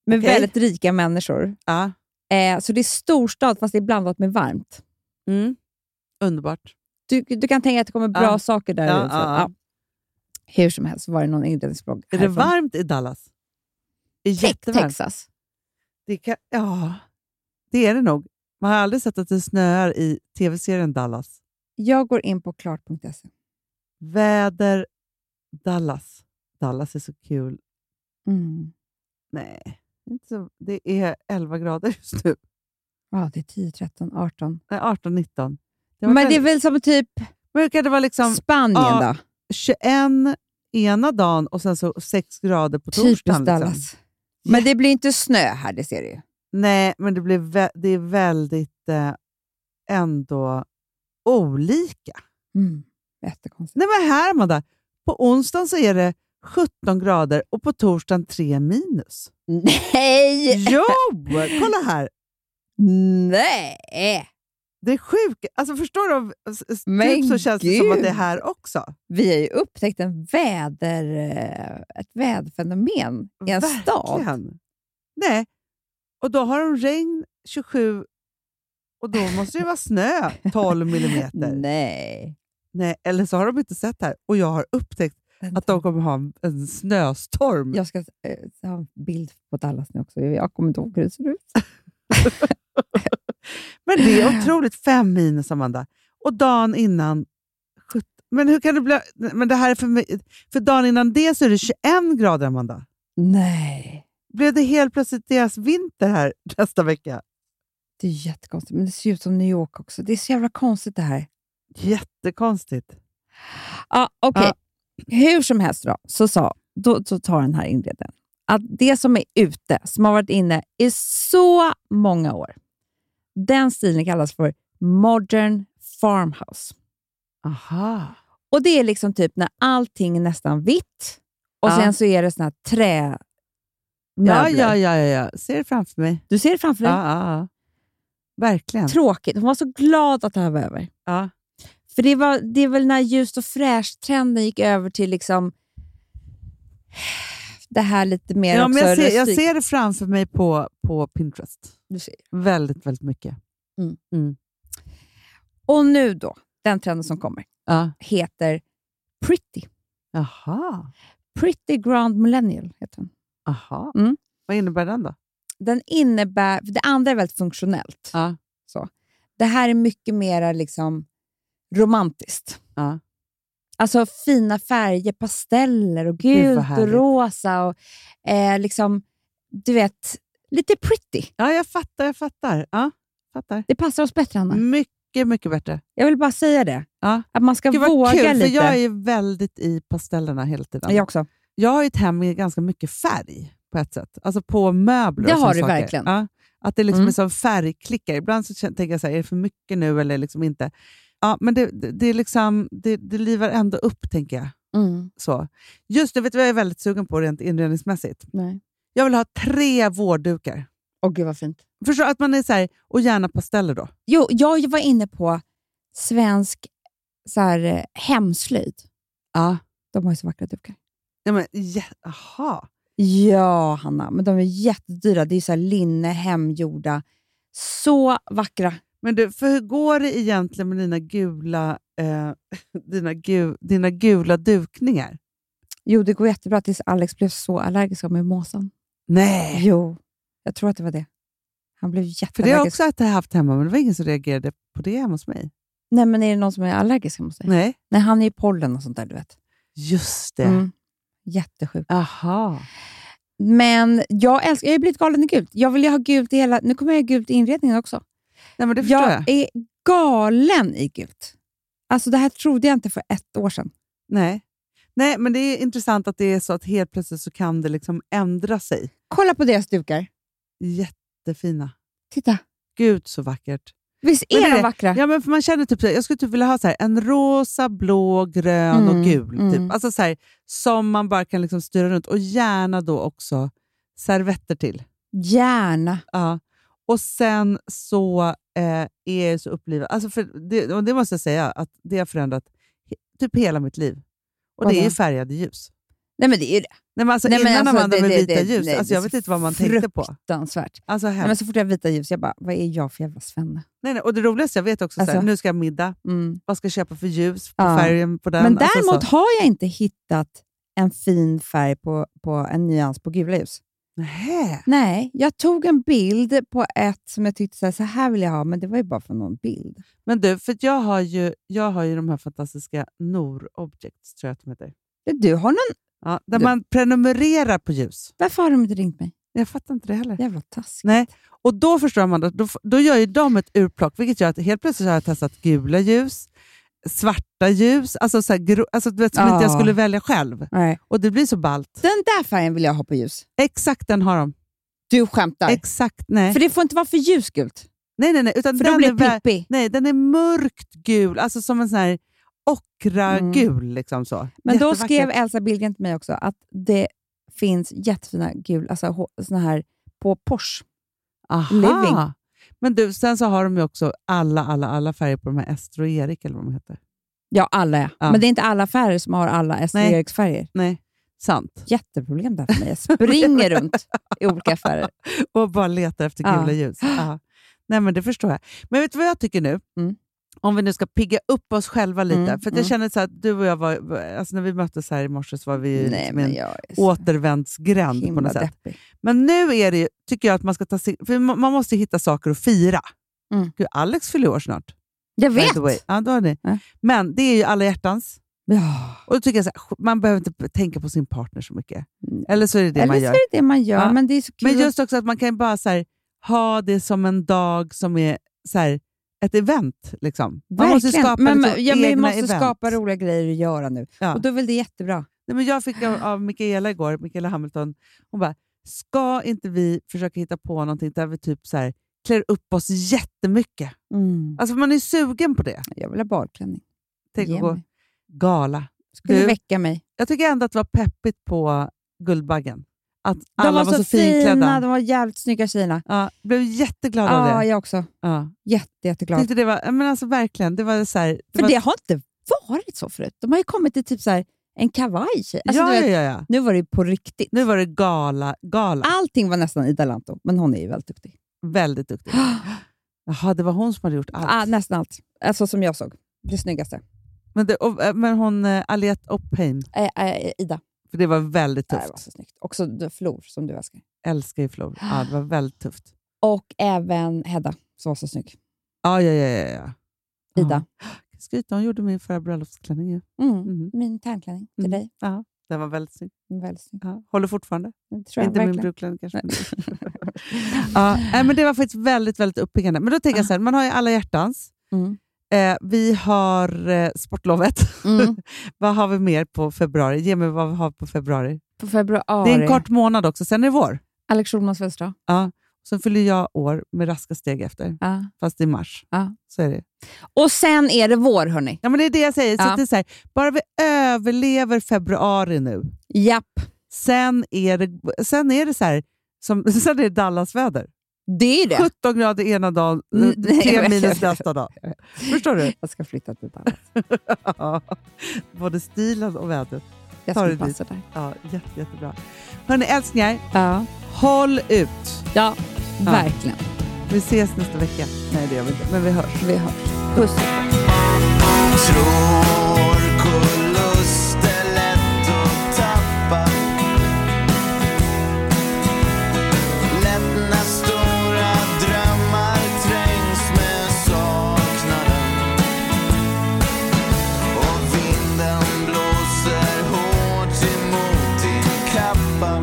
Speaker 3: med
Speaker 2: Okej.
Speaker 3: väldigt rika människor.
Speaker 2: ja.
Speaker 3: Eh, så det är storstad fast det är blandat med varmt.
Speaker 2: Mm. Underbart.
Speaker 3: Du, du kan tänka att det kommer bra
Speaker 2: Ja.
Speaker 3: saker där.
Speaker 2: Ah. Ja,
Speaker 3: i, så.
Speaker 2: ja, ja.
Speaker 3: Ja. Hur som helst var det någon inredningsblogg
Speaker 2: Är det
Speaker 3: härifrån.
Speaker 2: varmt i Dallas? Det är
Speaker 3: Tex-
Speaker 2: jättevarmt.
Speaker 3: Texas.
Speaker 2: Det kan... Ja, det är det nog. Man har aldrig sett att det snöar i tv-serien Dallas.
Speaker 3: Jag går in på klart.se.
Speaker 2: Väder Dallas. Dallas är så kul.
Speaker 3: Mm.
Speaker 2: Nej, inte så... det är 11 grader just nu.
Speaker 3: Ja, det är 10, 13, 18.
Speaker 2: Nej, 18, 19. Det var
Speaker 3: Men det är
Speaker 2: väldigt-
Speaker 3: väl som typ
Speaker 2: Men hur kan det vara liksom
Speaker 3: Spanien
Speaker 2: ja,
Speaker 3: då?
Speaker 2: 21 ena dagen och sen så 6 grader på torsdagen?
Speaker 3: Typiskt
Speaker 2: Liksom.
Speaker 3: Dallas. Men det blir inte snö här, det ser du ju.
Speaker 2: Nej, men det, blir vä- det är väldigt eh, ändå olika.
Speaker 3: Mm. Jättekonstigt.
Speaker 2: Nej, men här Amanda, på onsdagen så är det 17 grader och på torsdagen 3 minus.
Speaker 3: Nej!
Speaker 2: Jo! Kolla här!
Speaker 3: Nej!
Speaker 2: Det är sjukt. Alltså förstår du? s- s-
Speaker 3: Men
Speaker 2: typ så känns det som att det är
Speaker 3: gud.
Speaker 2: här också.
Speaker 3: Vi har ju upptäckt en väder, eh, ett väderfenomen i en stad.
Speaker 2: Verkligen. Nej. Och då har de regn 27 och då måste det vara snö 12 millimeter. Mm.
Speaker 3: Nej.
Speaker 2: Nej, eller så har de inte sett det här och jag har upptäckt att de kommer ha en, en snöstorm.
Speaker 3: Jag ska eh, ha en bild på Dallas nu också. Jag kommer inte ihåg hur det ser ut.
Speaker 2: Men det är otroligt. Fem minus, Amanda. Och dagen innan... sjut- Men hur kan det bli... Men det här är för, mig, för dagen innan det så är det 21 grader, Amanda.
Speaker 3: Nej.
Speaker 2: Blev det helt plötsligt deras vinter här nästa vecka?
Speaker 3: Det är jättekonstigt, men det ser ut som New York också. Det är så jävla konstigt det här.
Speaker 2: Jättekonstigt.
Speaker 3: Ja, okej.
Speaker 2: Ja.
Speaker 3: Hur som helst då, så, sa, då, så tar den här inredningen att det som är ute, som har varit inne i så många år, den stilen kallas för modern farmhouse.
Speaker 2: Aha.
Speaker 3: Och Det är liksom typ när allting är nästan vitt och
Speaker 2: Ja.
Speaker 3: sen så är det såna här trämöbler.
Speaker 2: Ja, ja, ja, ja, ja. Ser det framför mig.
Speaker 3: Du ser det framför
Speaker 2: Ja,
Speaker 3: dig?
Speaker 2: ja, ja. Verkligen.
Speaker 3: Tråkigt. Hon var så glad att det här var över.
Speaker 2: Ja.
Speaker 3: För det, var, det är väl när ljust och fräscht-trenden gick över till liksom det här lite mer
Speaker 2: Ja,
Speaker 3: också
Speaker 2: men jag, ser, jag
Speaker 3: rustik-
Speaker 2: ser det framför mig på, på Pinterest.
Speaker 3: Du ser.
Speaker 2: Väldigt, väldigt mycket.
Speaker 3: Och nu då, den trenden som kommer,
Speaker 2: Ja.
Speaker 3: heter Pretty.
Speaker 2: Aha.
Speaker 3: Pretty Grand Millennial heter den.
Speaker 2: Aha.
Speaker 3: Mm.
Speaker 2: Vad innebär den då?
Speaker 3: Den innebär, för det andra är väldigt funktionellt.
Speaker 2: Ja.
Speaker 3: Så. Det här är mycket mer liksom romantiskt.
Speaker 2: Ja.
Speaker 3: Alltså fina färger, pasteller och
Speaker 2: vad
Speaker 3: gult och
Speaker 2: härligt.
Speaker 3: rosa och eh, liksom, du vet, lite pretty.
Speaker 2: Ja, jag fattar, jag fattar. Ja, fattar.
Speaker 3: Det passar oss bättre, Anna.
Speaker 2: Mycket, mycket bättre.
Speaker 3: Jag vill bara säga det.
Speaker 2: Ja.
Speaker 3: Att man ska
Speaker 2: Gud, vad
Speaker 3: våga
Speaker 2: kul,
Speaker 3: lite.
Speaker 2: för jag är ju väldigt i pastellerna hela tiden.
Speaker 3: Jag också.
Speaker 2: Jag har ju ett hem med ganska mycket färg på ett sätt. Alltså på möbler
Speaker 3: Det
Speaker 2: och
Speaker 3: har
Speaker 2: såna
Speaker 3: du
Speaker 2: saker.
Speaker 3: verkligen.
Speaker 2: Ja. Att det liksom
Speaker 5: Mm.
Speaker 2: är som färgklickar. Ibland så kän- tänker jag så här, är det för mycket nu eller liksom inte? Ja, men det, det, det, är liksom, det, det livar ändå upp, tänker jag.
Speaker 3: Mm.
Speaker 2: Så. Just det, vet du vad jag är väldigt sugen på rent inredningsmässigt?
Speaker 3: Nej.
Speaker 2: Jag vill ha tre vårddukar.
Speaker 3: Åh gud vad fint.
Speaker 2: Förstår att man är så här, och gärna pasteller då.
Speaker 3: Jo, jag var inne på svensk så här, eh, hemslöjd.
Speaker 2: Ja.
Speaker 3: De har ju så vackra dukar.
Speaker 2: Ja, men, ja, aha.
Speaker 3: Ja, Hanna, men de är jättedyra. Det är ju så här linne, hemgjorda. Så vackra.
Speaker 2: Men du, för hur går det egentligen med dina gula, eh, dina gu, dina gula dukningar?
Speaker 3: Jo, det går jättebra tills Alex blev så allergisk av min måsen.
Speaker 2: Nej,
Speaker 3: Jo, jag tror att det var Eh. det. Han blev
Speaker 2: för det har jag
Speaker 3: jätteallergisk.
Speaker 2: också att jag haft hemma, men det var ingen som reagerade på det hemma hos mig.
Speaker 3: Nej, men är det någon som är allergisk mot dig?
Speaker 2: Nej,
Speaker 3: Nej, han är ju pollen och sånt där, du vet.
Speaker 2: just det.
Speaker 3: Mm. Jättesjuk.
Speaker 2: Aha.
Speaker 3: Men jag älskar, jag har ju blivit galen i gult. Jag vill ju ha gult i hela, nu kommer jag ha gult i inredningen också.
Speaker 2: Nej, men det förstår
Speaker 3: jag
Speaker 2: jag.
Speaker 3: är galen i gult. Alltså det här trodde jag inte för ett år sedan.
Speaker 2: Nej. Nej, men det är intressant att det är så att helt plötsligt så kan det liksom ändra sig.
Speaker 3: Kolla på deras dukar.
Speaker 2: Jättefina.
Speaker 3: Titta.
Speaker 2: Gud så vackert.
Speaker 3: Visst
Speaker 2: Men
Speaker 3: är
Speaker 2: det-
Speaker 3: de vackra?
Speaker 2: Ja, men för man känner typ, så här, jag skulle typ vilja ha så här, en rosa, blå, grön
Speaker 3: Mm,
Speaker 2: och gul.
Speaker 3: mm.
Speaker 2: Typ. Alltså så här, som man bara kan liksom styra runt. Och gärna då också servetter till.
Speaker 3: Gärna.
Speaker 2: Ja. Och sen så eh, är jag så upplivad. Alltså för det, och det måste jag säga, att det har förändrat he- typ hela mitt liv. Och det är
Speaker 3: Vadå?
Speaker 2: ju färgade ljus.
Speaker 3: Nej men det är ju det.
Speaker 2: Nej, men alltså,
Speaker 3: Nej, men
Speaker 2: innan
Speaker 3: alltså,
Speaker 2: använde man
Speaker 3: det-
Speaker 2: med
Speaker 3: det-
Speaker 2: vita
Speaker 3: det-
Speaker 2: ljus.
Speaker 3: nej,
Speaker 2: alltså,
Speaker 3: det är
Speaker 2: jag
Speaker 3: så
Speaker 2: vet inte vad man tänkte på.
Speaker 3: Fruktansvärt.
Speaker 2: Alltså,
Speaker 3: Nej,
Speaker 2: hemskt.
Speaker 3: men så fort jag har vita ljus, jag bara, vad är jag för jävla svenne?
Speaker 2: nej, nej, och det roligaste jag vet också, så här,
Speaker 3: Alltså.
Speaker 2: nu ska jag ha middag.
Speaker 3: Mm.
Speaker 2: Vad ska jag köpa för ljus? På
Speaker 3: Ja.
Speaker 2: färgen på den?
Speaker 3: Men
Speaker 2: Alltså, så.
Speaker 3: däremot har jag inte hittat en fin färg på, på en nyans på gula ljus.
Speaker 2: Nähä.
Speaker 3: Nej, jag tog en bild på ett som jag tyckte så här, så här vill jag ha, men det var ju bara för någon bild.
Speaker 2: Men du, för att jag har ju, jag har ju de här fantastiska Nor Objects, tror jag att de heter.
Speaker 3: Du har någon...
Speaker 2: Ja, där
Speaker 3: Du-
Speaker 2: man prenumererar på ljus.
Speaker 3: Varför har de inte ringt mig?
Speaker 2: Jag fattar inte det heller.
Speaker 3: Jävla taskigt.
Speaker 2: Nej, och då förstår man, att då, f- då gör ju de ett urplock, vilket gör att helt plötsligt har jag testat gula ljus, svarta ljus, alltså, så här, gro, alltså du vet, som inte jag
Speaker 3: Ja.
Speaker 2: skulle välja själv.
Speaker 3: Nej.
Speaker 2: Och det blir så ballt.
Speaker 3: Den där färgen vill jag ha på ljus.
Speaker 2: Exakt den har de.
Speaker 3: Du skämtar?
Speaker 2: Exakt, nej.
Speaker 3: För det får inte vara för ljusgult,
Speaker 2: nej, nej, nej. Utan
Speaker 3: för
Speaker 2: den
Speaker 3: då blir
Speaker 2: är väl-
Speaker 3: det pippig.
Speaker 2: Nej, den är mörkt gul, alltså som en sån här ockragul. Liksom så.
Speaker 3: Mm. Men då
Speaker 2: Jättevackert.
Speaker 3: skrev Elsa Billgren till mig också att det finns jättefina gula, alltså hå- såna här på Porsche.
Speaker 2: Aha.
Speaker 3: Living.
Speaker 2: Men du, sen så har de ju också alla, alla, alla färger på de här Ester och Erik, eller vad de heter.
Speaker 3: Ja, alla ja.
Speaker 2: Ja.
Speaker 3: Men det är inte alla affärer som har alla
Speaker 2: Nej.
Speaker 3: Ester färger.
Speaker 2: Nej, sant.
Speaker 3: Jätteproblem där för mig. Jag springer runt i olika affärer.
Speaker 2: Och bara letar efter
Speaker 3: Ja.
Speaker 2: gula ljus. Ja. Nej, men det förstår jag. Men vet du vad jag tycker nu?
Speaker 3: Mm.
Speaker 2: Om vi nu ska pigga upp oss själva lite.
Speaker 3: Mm,
Speaker 2: För att jag
Speaker 3: mm.
Speaker 2: känner så att du och jag var, var- alltså när vi möttes här i morse så var vi ju
Speaker 3: Nej,
Speaker 2: liksom i
Speaker 3: men
Speaker 2: en
Speaker 3: jag är så
Speaker 2: återvändsgränd på
Speaker 3: himla
Speaker 2: något sätt.
Speaker 3: deppig.
Speaker 2: Men nu är det ju, tycker jag att man ska ta sig, för man man måste ju hitta saker att fira.
Speaker 3: Mm.
Speaker 2: Gud, Alex fyller år snart.
Speaker 3: Jag
Speaker 2: by the way.
Speaker 3: vet!
Speaker 2: Ja, då har ni.
Speaker 3: Ja.
Speaker 2: Men det är ju alla hjärtans.
Speaker 3: Ja.
Speaker 2: Och då tycker jag så här, man behöver inte p- tänka på sin partner så mycket.
Speaker 3: Mm.
Speaker 2: Eller så är det det
Speaker 3: Eller
Speaker 2: man
Speaker 3: så är
Speaker 2: gör.
Speaker 3: det det man gör,
Speaker 2: Ja.
Speaker 3: men det är så kul.
Speaker 2: Men
Speaker 3: att-
Speaker 2: just också att man kan ju bara så här, ha det som en dag som är så här, ett event. Liksom. Man måste ju
Speaker 3: Verkligen.
Speaker 2: skapa
Speaker 3: men,
Speaker 2: liksom
Speaker 3: ja, men Vi
Speaker 2: egna
Speaker 3: måste
Speaker 2: event.
Speaker 3: skapa roliga grejer att göra nu.
Speaker 2: Ja.
Speaker 3: Och då är väl det jättebra.
Speaker 2: Nej, men jag fick av, av Mikaela igår, Mikaela Hamilton, hon bara, ska inte vi försöka hitta på någonting där vi typ så här, klär upp oss jättemycket? Alltså man är sugen på det.
Speaker 3: Mm, Jag vill ha badklänning.
Speaker 2: Tänk
Speaker 3: Ge
Speaker 2: att gå
Speaker 3: mig.
Speaker 2: gala.
Speaker 3: Ska du
Speaker 2: Du-
Speaker 3: väcka mig?
Speaker 2: Jag tycker ändå att det var peppigt på Guldbaggen. Att
Speaker 3: De
Speaker 2: alla var, så, finklädda.
Speaker 3: de var jävligt snygga tjejerna.
Speaker 2: Ja, blev jätteglad av
Speaker 3: Ja,
Speaker 2: det.
Speaker 3: jag också.
Speaker 2: Ja.
Speaker 3: Jätte, jätteglad.
Speaker 2: Tyckte det var, ja, men alltså verkligen, det var så här, det
Speaker 3: För
Speaker 2: var,
Speaker 3: det har inte varit så förut. De har ju kommit i typ så här, en kavaj. tjej. Alltså,
Speaker 2: ja,
Speaker 3: du vet,
Speaker 2: ja, ja, ja.
Speaker 3: Nu var det ju på riktigt.
Speaker 2: Nu var det gala, gala.
Speaker 3: Allting var nästan Ida Lanto, men hon är ju väldigt duktig.
Speaker 2: Väldigt duktig. Jaha, det var hon som hade gjort allt.
Speaker 3: Ah, nästan allt. Alltså som jag såg. Det snyggaste.
Speaker 2: Men, det, och, eh, men hon, eh, Aliette Oppheim,
Speaker 3: Eh, eh, Ida.
Speaker 2: för det var väldigt
Speaker 3: Det var
Speaker 2: tufft.
Speaker 3: så snyggt. Också The Flor som du älskar.
Speaker 2: Älskar ju Flor. Ja, det var väldigt tufft.
Speaker 3: Och även Hedda som var så snygg.
Speaker 2: Ja, ja, ja. ja, ja.
Speaker 3: Ida.
Speaker 2: Ja. Skryta, hon gjorde min förra bröllopsklänning ju.
Speaker 3: Mm.
Speaker 2: Mhm.
Speaker 3: Min tärnklänning till
Speaker 2: Mm.
Speaker 3: dig.
Speaker 2: Ja, den var väldigt snygg.
Speaker 3: Den är Väldigt snygg.
Speaker 2: Ja. Håller fortfarande.
Speaker 3: Det tror jag
Speaker 2: inte min
Speaker 3: verkligen.
Speaker 2: brudklänning kanske. ja, nej, men det var faktiskt väldigt, väldigt uppiggande. Men då tänker jag så här, man har ju alla hjärtans.
Speaker 3: Ah. Mm.
Speaker 2: Eh, vi har eh, sportlovet.
Speaker 3: Mm.
Speaker 2: vad har vi mer på februari? Ge mig vad vi har på februari.
Speaker 3: På februari.
Speaker 2: Det är en kort månad också, sen är det vår.
Speaker 3: Alex Schulmans födelsedag.
Speaker 2: Sen fyller jag år med raska steg efter,
Speaker 3: Ja.
Speaker 2: fast i mars.
Speaker 3: Ja.
Speaker 2: Så är det.
Speaker 3: Och sen är det vår, hörni.
Speaker 2: Ja, men det är det jag säger. Så
Speaker 3: Ja.
Speaker 2: att det är så här, bara vi överlever februari nu,
Speaker 3: Japp,
Speaker 2: sen är det, sen är det så här, som, sen är det Dallasväder.
Speaker 3: det är det.
Speaker 2: 17 grader ena dagen,
Speaker 3: Mm, nej, jag
Speaker 2: 3
Speaker 3: vet, jag
Speaker 2: minus
Speaker 3: vet.
Speaker 2: nästa dag. Förstår du?
Speaker 3: Jag ska flytta till Dallas.
Speaker 2: Ja. Både stilen och vädret.
Speaker 3: Jag
Speaker 2: Tar
Speaker 3: ska
Speaker 2: du dit?
Speaker 3: passa där.
Speaker 2: Ja, jätte, jättebra. Hörni älsklingar,
Speaker 3: Ja,
Speaker 2: håll ut!
Speaker 3: ja verkligen.
Speaker 2: Vi ses nästa vecka. Nej, det gör vi inte, men vi hörs.
Speaker 3: Vi hörs. Puss.
Speaker 6: Tror kollust är lätt att tappa Lätt när stora drömmar trängs med saknaden Och vinden blåser hårt emot din kappa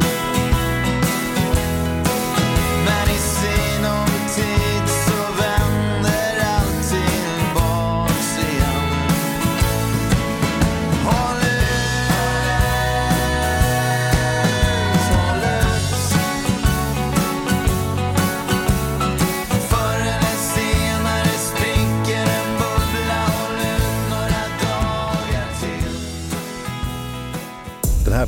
Speaker 6: Men i sinom tid så vänder allt tillbaks igen Håll ut, håll ut. Förr eller senare spricker en bubbla. Håll ut några dagar till.
Speaker 7: Den här